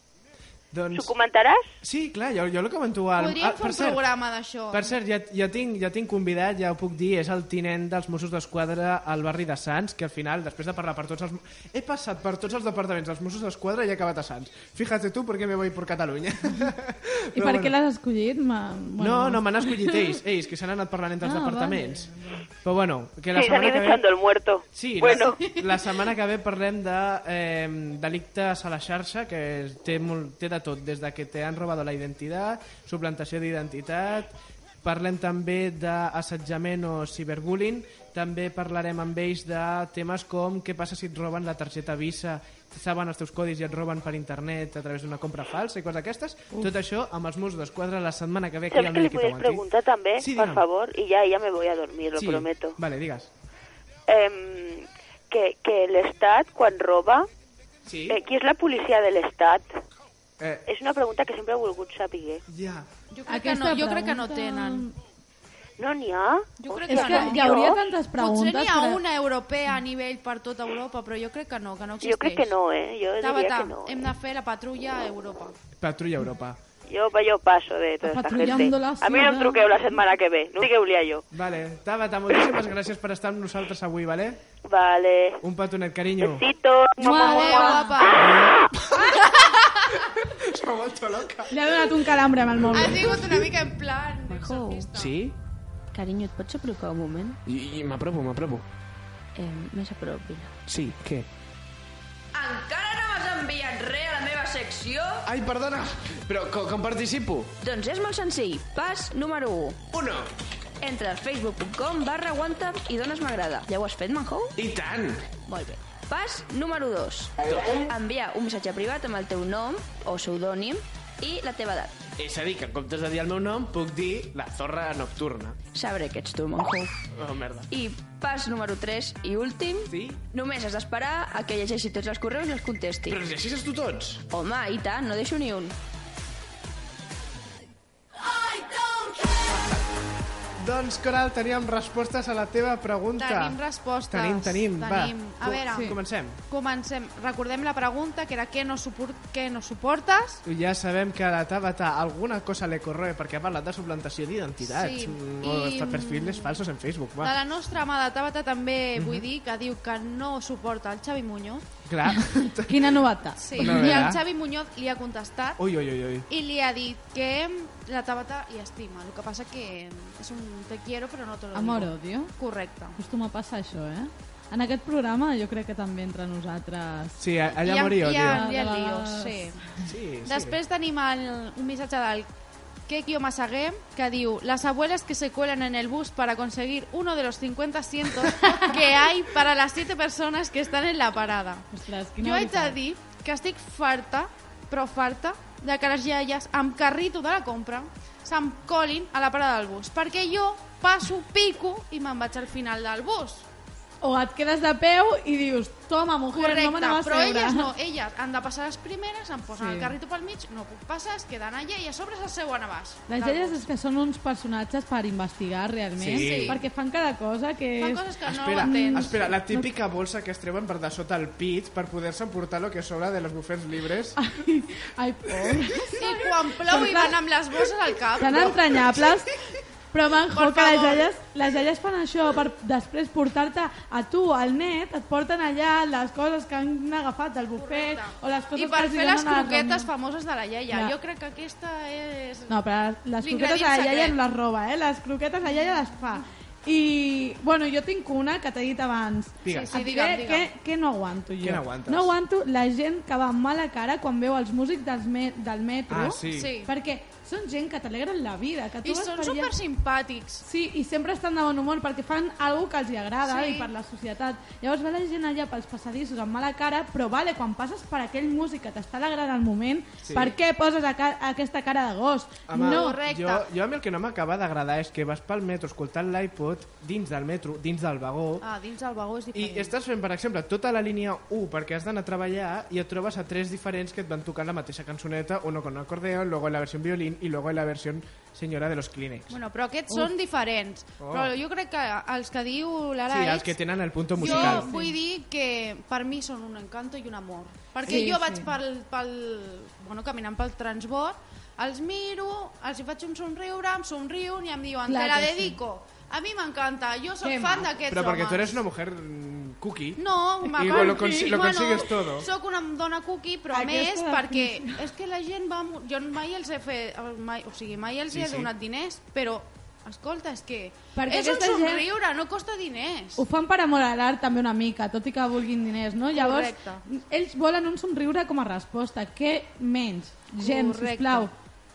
D: Doncs...
H: ¿Ho comentaràs?
D: Sí, clar, jo, jo lo comento al...
C: Podríem
D: ah,
C: fer
D: per
C: un
D: cert,
C: programa d'això.
D: Per cert, ja, ja, tinc, ja tinc convidat, ja ho puc dir, és el tinent dels Mossos d'Esquadra al barri de Sants, que al final, després de parlar per tots els... He passat per tots els departaments dels Mossos d'Esquadra i he acabat a Sants. Fíjate tu perquè me voy por Catalunya.
E: I per què l'has escollit? Ma...
D: No, no, m'han escollit ells, ells, que s'han anat parlant entre els
E: Ah,
D: departaments. Però bueno, que la
H: Sí,
D: setmana
H: salí
D: que
H: echando
D: ve...
H: el muerto.
D: Sí,
H: bueno,
D: la, la setmana que ve parlem de eh, delictes a la xarxa, que té, molt, té de tot, des de que t'han robat la identitat, suplantació d'identitat, parlem també d'assetjament o ciberbullying, també parlarem amb ells de temes com què passa si et roben la targeta Visa, saben els teus codis i et roben per internet a través d'una compra falsa i coses d'aquestes.
H: Uf.
D: Tot això amb els Mossos d'Esquadra la setmana que ve aquí
H: ¿sabes
D: al
H: que le
D: Niki
H: puedes
D: Tawanti.
H: preguntar también,
D: Sí,
H: por
D: dígame.
H: favor? Y ya, ya me voy a dormir, lo
D: Sí.
H: prometo.
D: Vale, digas.
H: Em, que, que el Estat, quan roba,
D: Sí.
H: eh, qui és la policia de l'Estat?
D: Eh.
H: És una pregunta que sempre he volgut saber.
D: Ja.
C: Jo crec, que no, jo crec que no tenen.
H: No n'hi ha?
C: Jo crec
E: És
C: que,
E: que
C: no.
E: hi hauria tantes preguntes,
C: Potser n'hi ha
E: però-
C: una europea a nivell per tota Europa, però jo crec que no, que no existeix.
H: Jo crec que no, eh? Jo diria
C: Tabata,
H: que no.
C: hem de fer la patrulla a Europa.
D: Patrulla Europa.
H: Yo, yo paso de toda esta gente.
C: Patrullando la
H: A mí no em
C: ciudad.
H: truqueu la setmana que ve. No sé què volia jo.
D: Vale, Tabata, moltíssimes gràcies per estar amb nosaltres avui, vale?
H: Vale.
D: Un petonet, carinyo.
H: Besito.
C: Adéu, guapa.
D: S'ha vuelto loca.
E: Li ha donat un calambre amb el mòbil.
C: Ha sigut una mica en plan...
D: Sí?
L: Carinyo, et pots apropar un moment?
D: I, i m'apropo, m'apropo.
L: Eh, més a prop, vine.
D: Sí, què?
L: Encara no m'has enviat res a la meva secció?
D: Ai, perdona, però com, com participo?
L: Doncs és molt senzill. Pas número 1.
D: 1.
L: Entra al facebook.com barra aguanta i dones m'agrada. Ja ho has fet, Manjou?
D: I tant!
L: Molt bé. Pas número 2. Enviar un missatge privat amb el teu nom o pseudònim i la teva edat.
D: És a dir, que en comptes de dir el meu nom, puc dir la zorra nocturna.
L: Sabré que ets tu, Manjou.
D: Oh, merda.
L: I pas número 3 i últim.
D: Sí?
L: Només has d'esperar a que llegeixi tots els correus i els contesti.
D: Però els llegeixes tu tots?
L: Home, i tant, no deixo ni un.
D: Doncs, Coral, teníem respostes a la teva pregunta.
C: Tenim respostes.
D: Tenim, tenim,
C: Tenim.
D: va.
C: A
D: Co-
C: veure.
D: sí. Comencem.
C: Comencem. Recordem la pregunta, que era què no, suport, què no suportes?
D: Ja sabem que a la Tabata alguna cosa le corroe perquè ha parlat de suplantació d'identitats
C: Sí,
D: mm, o
C: i-
D: de perfiles falsos en Facebook.
C: De
D: Va.
C: la nostra amada Tabata també vull dir que diu que no suporta el Xavi Muñoz,
D: Clar.
E: Quina novetat.
C: Sí.
D: Una
C: I el
D: novetat.
C: Xavi Muñoz li ha contestat
D: Ui, ui, ui, ui.
C: i li ha dit que la Tabata li estima. El que passa que és un te quiero però no te lo digo.
E: Amor-odio.
C: Correcte.
E: Acostuma a passar això, eh? En aquest programa jo crec que també entre nosaltres...
D: Sí, a- allà
C: Hi ha-
D: morí,
C: hi ha-
D: tio.
C: hi ha
E: De
C: líos,
E: vegades.
C: sí.
D: Sí,
C: Després tenim el, un missatge del Kekio Masagué que diu Las abuelas que se cuelan en el bus para conseguir uno de los 50 asientos que hay para las 7 personas que están en la parada.
E: Ostres, quina
C: Jo haig de
E: veritat.
C: dir que estic farta, però farta, de que les iaies amb carrito de la compra se'm colin a la parada del bus, perquè jo passo, pico i me'n vaig al final del bus.
E: O et quedes de peu i dius, toma, mujer, no me
C: Correcte,
E: n'anava a
C: però
E: seure.
C: elles no, elles han de passar les primeres, em posen
E: Sí.
C: el carrito pel mig, no puc passar, es queden allà i a sobre s'asseuen a baix.
E: Les
C: del
E: elles
C: bus.
E: és que són uns personatges per investigar realment,
D: Sí.
E: perquè fan cada cosa que...
C: Fan
E: és-
C: coses que no
D: Espera,
C: ho entens.
D: espera, la típica bolsa que es treuen per de sota el pit per poder-se emportar lo que sobra de les bufets llibres.
C: Ah,
E: Ai, pobres.
C: I quan plou i van amb les bosses al cap.
E: Tan entranyables. Però manjo
C: Por
E: que les
C: favor.
E: aies, les aies fan això per després portar-te a tu, al net, et porten allà les coses que han agafat del bufet o les coses
C: I per
E: que els
C: fer
E: donen
C: les
E: a la
C: croquetes
E: reunió.
C: famoses de la iaia.
E: Ja.
C: Jo crec que aquesta és...
E: No, però les croquetes
C: L'ingredient
E: a la iaia
C: secret.
E: no les roba, eh? Les croquetes a la iaia les fa. I, bueno, jo tinc una que t'he dit abans.
D: Digues. Sí, sí,
E: Et diré
D: digue'm, digue'm.
E: Que, que no aguanto jo.
D: Què no aguantes?
E: No aguanto la gent que va amb mala cara quan veu els músics dels me del metro.
D: Ah, sí. Sí.
E: Perquè són gent que t'alegren la vida. Que tu
C: I
E: vas
C: són
E: per allà-
C: supersimpàtics.
E: Sí, i sempre estan de bon humor perquè fan algo que els hi agrada
C: Sí.
E: i per la societat. Llavors va la gent allà pels passadissos amb mala cara, però vale, quan passes per aquell músic que t'està alegrant al moment,
D: Sí.
E: per què poses a ca aquesta cara de gos?
D: Home,
E: no,
D: jo, jo a mi el que no m'acaba d'agradar és que vas pel metro escoltant l'iPod dins del metro, dins del vagó,
C: Ah, dins del vagó és
D: i
C: diferent.
D: estàs fent, per exemple, tota la línia 1 perquè has d'anar a treballar i et trobes a tres diferents que et van tocant la mateixa cançoneta, uno con acordeón, luego en la versió en violín i luego en la versió senyora de los Kleenex.
C: Bueno, però aquests
D: Uf.
C: són diferents.
D: Oh.
C: Però jo crec que els que diu l'Ara
D: Sí, els que tenen el punto
C: Jo
D: musical.
C: vull dir que per mi són un encanto i un amor. Perquè
E: Sí,
C: jo
E: sí.
C: vaig pel, pel, bueno, caminant pel transbord, els miro, els hi faig un somriure, em somriuen i em diuen,
D: Clar
C: te la
D: que sí.
C: dedico. A mi m'encanta, jo sóc
D: Qué
C: fan
D: maco.
C: d'aquests
D: Però perquè
C: homes.
D: tu eres una mujer mm, cookie.
C: No, me
D: I lo,
C: acaben-
D: lo, consi- lo
C: bueno,
D: consigues todo.
C: Soc una dona cookie, però a
E: Aquesta
C: més, perquè és que la gent va... amb- Jo mai els he fet... Mai, o sigui, mai els
E: Sí,
C: he
E: sí.
C: donat diners, però, escolta, és que...
E: Perquè
C: és un
E: aquesta gent-
C: somriure, no costa diners.
E: Ho fan per amor a l'art també una mica, tot i que vulguin diners, no? Llavors,
C: Correcte.
E: ells volen un somriure com a resposta. Què menys? Gent,
C: Correcte.
E: sisplau,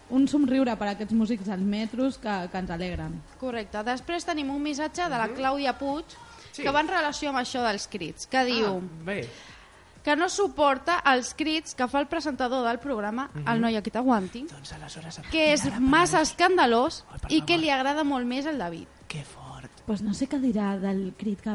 E: un somriure per a aquests músics als metros que, que ens alegren.
C: Correcte. Després tenim un missatge de la Clàudia Puig
E: Sí. Ah.
C: que va en relació amb això dels crits, que diu
D: Ah, bé.
C: que no suporta els crits que fa el presentador del programa,
E: Mhm.
D: Mhm.
C: el noi que t'aguanti,
D: doncs aleshores...
C: que és massa escandalós i que li agrada molt més al David.
E: Pues no sé què dirà del crit que,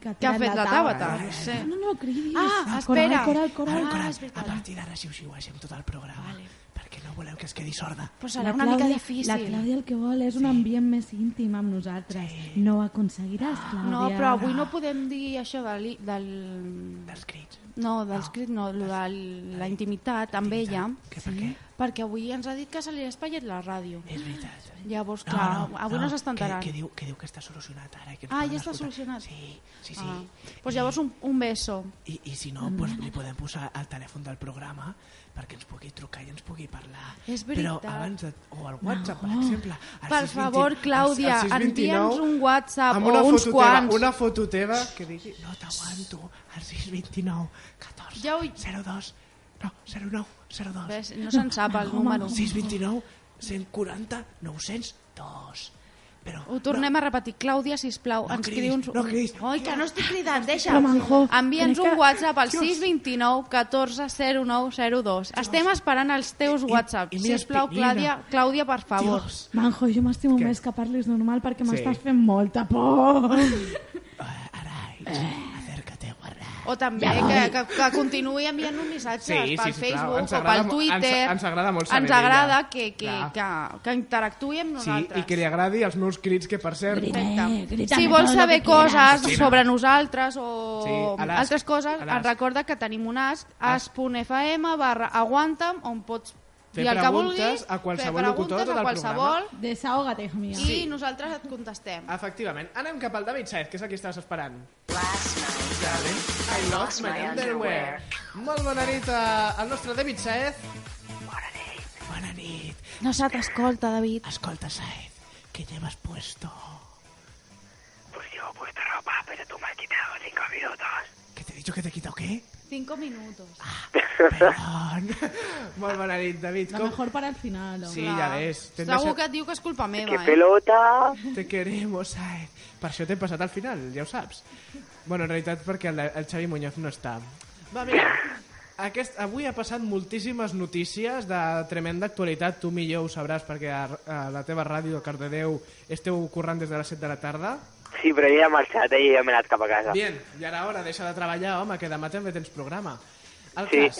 E: que,
C: Que ha
E: tirat
C: fet la
E: taula.
C: Tabata. No, sé.
E: No, no, cridis.
C: Ah,
E: Coral,
C: espera.
E: coral, coral.
C: Ah,
E: coral.
C: és veritat.
Q: partir d'ara xiu-xiu amb tot el programa, vale. perquè no voleu que es quedi sorda.
C: Pues
E: La Clàudia- La Clàudia el que vol és un ambient més íntim amb nosaltres. No ho aconseguiràs, Clàudia.
C: Ah, No, però avui no podem dir això de li, del... Dels
Q: crits.
C: No, dels crits no, lo de la intimitat amb ella. Que per què? Perquè avui ens ha dit que se li ha espatllat la ràdio. És veritat. Llavors, clar, avui no, s'està enterant.
Q: Que, que, diu, que diu que està solucionat ara. i Que ens
C: Ah,
Q: poden
C: ja està
Q: escoltar.
C: solucionat.
Q: Sí, sí, sí.
C: Ah. Pues llavors un, un beso.
Q: I, I si
C: Mm.
Q: no, pues, li podem posar el telèfon del programa perquè ens pugui trucar i ens pugui parlar.
C: És veritat.
Q: Però abans de... O al WhatsApp, no. per exemple. al
C: Per
Q: 620
C: favor, Clàudia,
Q: al- al 629,
C: envia'ns un WhatsApp
D: Amb
C: o
D: una
C: uns
D: foto
C: quants.
D: teva, una foto teva que digui...
Q: No t'aguanto. Al 629 14
C: ja ho...
Q: 02 no, 09 02.
C: Ves, no se'n sap el
Q: Home,
C: número.
Q: 629 140 902. Però
C: Ho tornem a repetir. Clàudia, sisplau, ens cridis, uns... No cridis. Ai, que no estic cridant, deixa.
E: Però, Manjo,
C: Envia'ns
E: crec
C: un
E: que-
C: WhatsApp al
E: Dios.
C: 629 14 0902. Estem esperant els teus WhatsApp.
E: mira,
C: Sisplau,
E: Espinina.
C: Clàudia, Clàudia, per favor.
E: Dios. Manjo, jo m'estimo més que parlis normal perquè m'estàs fent molta por.
C: O també
E: Ja
C: que,
E: voy.
C: que, que continuï enviant un missatge
D: Sí,
C: pel
D: sí, sisplau.
C: Facebook
D: Ens
C: o
D: agrada
C: pel
D: mo- ens-
C: Twitter.
D: ens agrada molt saber
C: Ens
D: d'ella.
C: agrada que, que,
D: Clar.
C: que, que interactuï amb
D: Sí,
C: nosaltres.
D: i que li agradi els meus crits, que per cert...
C: Perfecte. Si
D: Grita'm
C: vols
D: tot lo
C: saber
D: que quieras.
C: coses
D: Cristina.
C: sobre nosaltres o
D: Sí, a l'ASC,
C: altres coses,
D: a l'ASC.
C: et recorda que tenim un ask, as.fm barra aguanta'm, on pots
D: Fer
C: I el que
D: preguntes
C: vulguis,
D: a qualsevol
C: fer
D: locutor
C: preguntes
D: del
C: a qualsevol,
D: programa.
E: Desahoga't, hija mía.
C: I nosaltres et contestem.
D: Efectivament. Anem cap al David Saez, que és el que estaves esperant. Darling, I lost my underwear. Molt bona nit eh, al nostre David Saez.
Q: Bona nit.
C: No se t'escolta, David.
Q: Escolta, Saez, ¿qué llevas puesto? Pues yo he puesto ropa, pero tú me has quitado cinco minutos. ¿Qué te he dicho que te he quitado qué? Ah.
C: Cinco minutos.
D: Eh? Molt bona nit, David.
E: La
D: Com...
E: mejor para el final, home.
D: Sí, ja ves. T'hem
C: Segur
D: deixat-
C: que et diu que és culpa meva, eh?
D: pelota! Te queremos, Saez. Per això t'hem passat al final, ja ho saps. Bueno, en realitat perquè el, el Xavi Muñoz no està.
C: eh?
D: Va, mira, aquest, avui ha passat moltíssimes notícies de tremenda actualitat. Tu millor ho sabràs perquè a, a la teva ràdio de Cardedeu esteu currant des de les 7 de la tarda.
R: Sí, però jo ja he marxat, eh? Jo ja m'he anat cap a casa.
D: Bien, i ara hora, deixa de treballar, home, que demà també tens programa. El
R: Sí.
D: cas,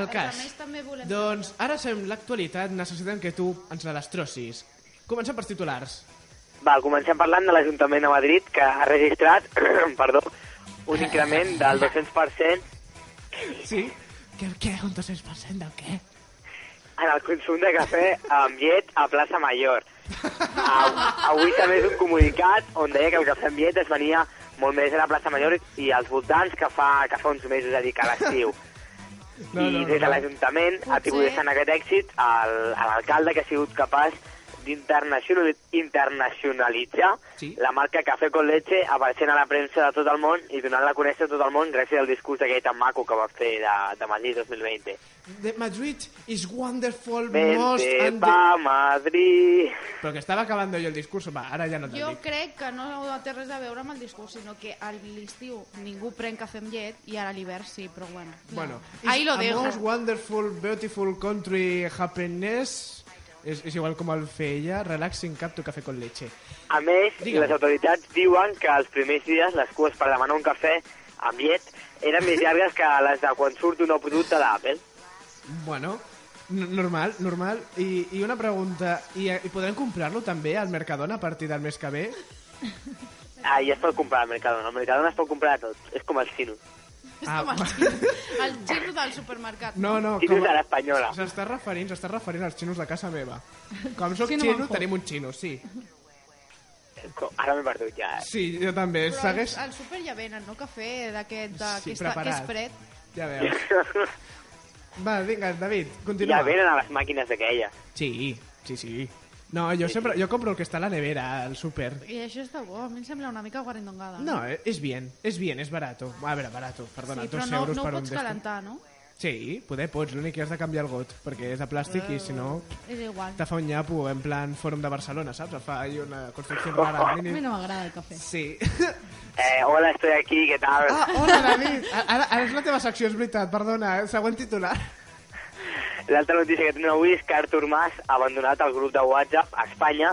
D: el cas.
C: Doncs més, també volem...
D: Doncs ara sabem l'actualitat, necessitem que tu ens la destrossis. Comencem pels titulars.
R: Va, comencem parlant de l'Ajuntament de Madrid, que ha registrat, perdó, un increment del 200%
D: Sí? Què, què? Un 200% del què?
R: en el consum de cafè amb llet a plaça Major. Av- Avui també és un comunicat on deia que el cafè amb llet es venia molt més a la plaça Major i als voltants que fa, que fa uns mesos, és a dir, que a l'estiu. I
D: No, no,
R: des de
D: no.
R: l'Ajuntament ha tingut
D: Potser-
R: en aquest èxit el- a l'alcalde que ha sigut capaç d'internacional- internacionalitzar
D: Sí.
R: la marca Café con Leche apareixent a la premsa de tot el món i donant-la a conèixer a tot el món gràcies al discurs aquell tan maco que va fer de, de Madrid 2020.
D: The Madrid is wonderful, most
R: Vente
D: and...
R: pa Madrid...
D: Però que estava acabando jo el discurs, va, ara ja no te'l
C: Jo
D: dic.
C: crec que no té res a veure amb el discurs, sinó que a l'estiu ningú pren cafè amb llet i ara a l'hivern sí, però bueno.
D: Bueno,
C: ahí
D: is
C: lo
D: a
C: dejo.
D: most wonderful, beautiful country happiness... És, és igual com el feia, relaxing cup to café con leche.
R: A més,
D: Digue'm.
R: les autoritats diuen que els primers dies les cues per demanar un cafè amb llet eren més llargues que les de quan surt un nou producte d'Apple.
D: Bueno, n- normal, normal. I, i una pregunta, i, i podrem comprar-lo també al Mercadona a partir del mes que ve?
R: Ah, i es pot comprar al Mercadona. Al Mercadona es pot comprar tot. És com el Sinus.
D: Ah,
C: El giro del supermercat.
D: no, no.
R: Sinus a l'espanyola.
D: S'està referint, s'està referint als xinos de casa meva. Com sóc
C: Sí, no
D: xino,
C: me'n fot.
D: tenim un xino, sí.
R: Co- Ara m'he perdut ja. eh?
D: Sí, jo també.
C: Però al,
D: Segueix...
C: al súper ja venen, no? Cafè d'aquest de, que, està,
D: Sí,
C: que és
D: preparat.
C: fred.
D: Ja veus. Va, vinga, David, continua.
R: Ja venen a les màquines aquelles.
D: Sí, sí, sí. No, jo sempre jo compro el que està a la nevera, al súper.
C: I això està bo, a mi em sembla una mica guarindongada.
D: No, eh, és bien, és bien, és barato. A veure, barato, perdona,
C: sí, però
D: dos
C: no,
D: euros
C: no ho
D: per un
C: pots
D: desto.
C: calentar, no?
D: Sí, poder pots, l'únic que has de canviar el got, perquè és de plàstic i si no
C: És igual.
D: te fa un nyapo en plan Fòrum de Barcelona, saps? Et fa ahí una construcció rara.
C: Oh,
E: A mi
D: mínim.
E: no m'agrada el cafè.
D: Sí.
R: Eh, hola, estoy aquí, què tal?
D: Ah, hola, David. Ara, ara és la teva secció, és veritat, perdona. eh? Següent titular.
R: L'altra notícia que tenim avui és que Artur Mas ha abandonat el grup de WhatsApp a Espanya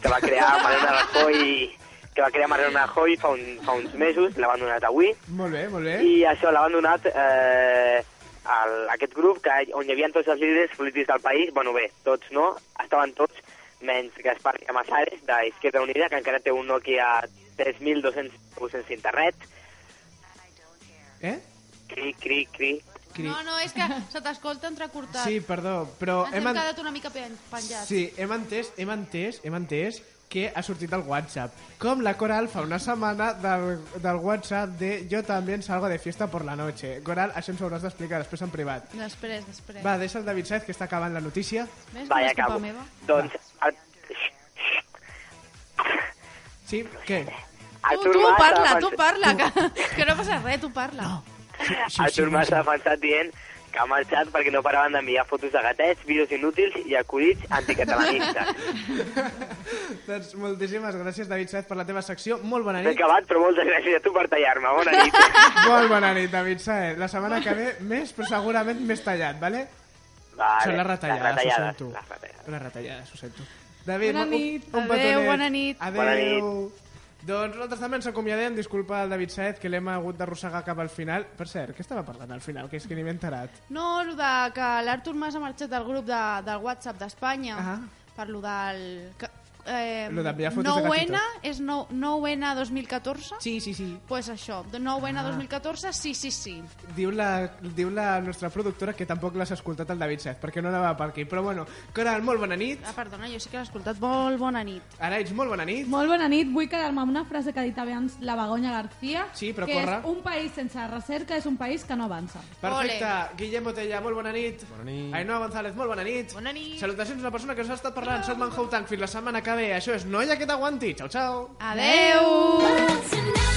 R: que va crear Mariano Rajoy que va crear Mariano Rajoy fa, un, fa uns mesos, l'ha abandonat avui.
D: Molt bé, molt bé.
R: I això l'ha abandonat eh, el, aquest grup que, on hi havia tots els líders polítics del país, bueno bé, tots no, estaven tots, menys Gaspar Camasares, de Izquierda Unida, que encara té un Nokia 3200 procents d'internet.
D: Eh?
R: Cri, cri, cri.
D: Cri.
C: No, no, és que se t'escolta entrecortat.
D: Sí, perdó, però
C: Ens hem
D: hem, en...
C: quedat una mica pen- penjats.
D: sí, hem entès, hem entès, hem entès que ha sortit el WhatsApp. Com la Coral fa una setmana del, del WhatsApp de jo també salgo de fiesta por la noche. Coral, això ens ho hauràs d'explicar després en privat.
C: Després, després.
D: Va, deixa el David Saez, que està acabant la notícia.
C: Ves,
R: Va,
C: no
R: ja
C: és culpa
R: acabo.
C: meva.
R: Doncs, el,
D: Sí, què?
C: Tu,
R: Artur
C: tu
R: Mas ha
C: parla,
R: defensat-
C: tu parla, que, que no passa res, tu parla.
R: Artur Mas ha defensat dient que ha marxat perquè no paraven d'enviar fotos de gatets, vídeos inútils i acudits anticatalanistes.
D: Doncs moltíssimes gràcies, David Saez, per la teva secció. Molt bona
R: He
D: nit.
R: acabat, però moltes gràcies a tu per tallar-me. Bona nit.
D: Molt bona nit, David Saez. La setmana que ve més, però segurament més tallat, vale?
R: Vale,
D: Són les
R: les
D: retallades,
R: retallades,
D: ho sento.
R: Les retallades.
D: Les retallades, ho sento. David,
R: Bona
D: un-
R: nit.
D: Un, un
R: Adeu,
D: petonet.
R: bona nit.
D: Adeu.
R: Bona
D: Doncs nosaltres també ens acomiadem. Disculpa al David Saez, que l'hem hagut d'arrossegar cap al final. Per cert, què estava parlant al final? Que és que ni m'he enterat.
C: No, el de que l'Artur Mas ha marxat del grup de, del WhatsApp d'Espanya.
D: Ah.
C: Per lo del... Que, eh,
D: Lo d'enviar fotos de
C: novena,
D: gatitos.
C: és nou, 9N 2014?
D: Sí, sí, sí.
C: Pues això, de 9N
D: Ah.
C: 2014, sí, sí, sí.
D: Diu la, diu la nostra productora que tampoc l'has escoltat el David Sez, perquè no anava per aquí. Però bueno, Coral, molt bona nit.
C: Ah, perdona, jo sí que l'he escoltat. Molt bona nit.
D: Araig, molt bona nit.
E: Molt bona nit, vull quedar-me amb una frase que ha dit abans la Begoña García,
D: Sí, però
E: que
D: corre.
E: és un país sense recerca és un país que no avança.
D: Perfecte. Guillem Botella, molt bona nit. Bona nit. Ainhoa González, molt bona nit. Bona nit. Salutacions a la persona que us ha estat parlant. Soc Manhou Tank. Fins la setmana que ve. Això és Noia que t'aguanti. Ciao, ciao.
C: Adeu!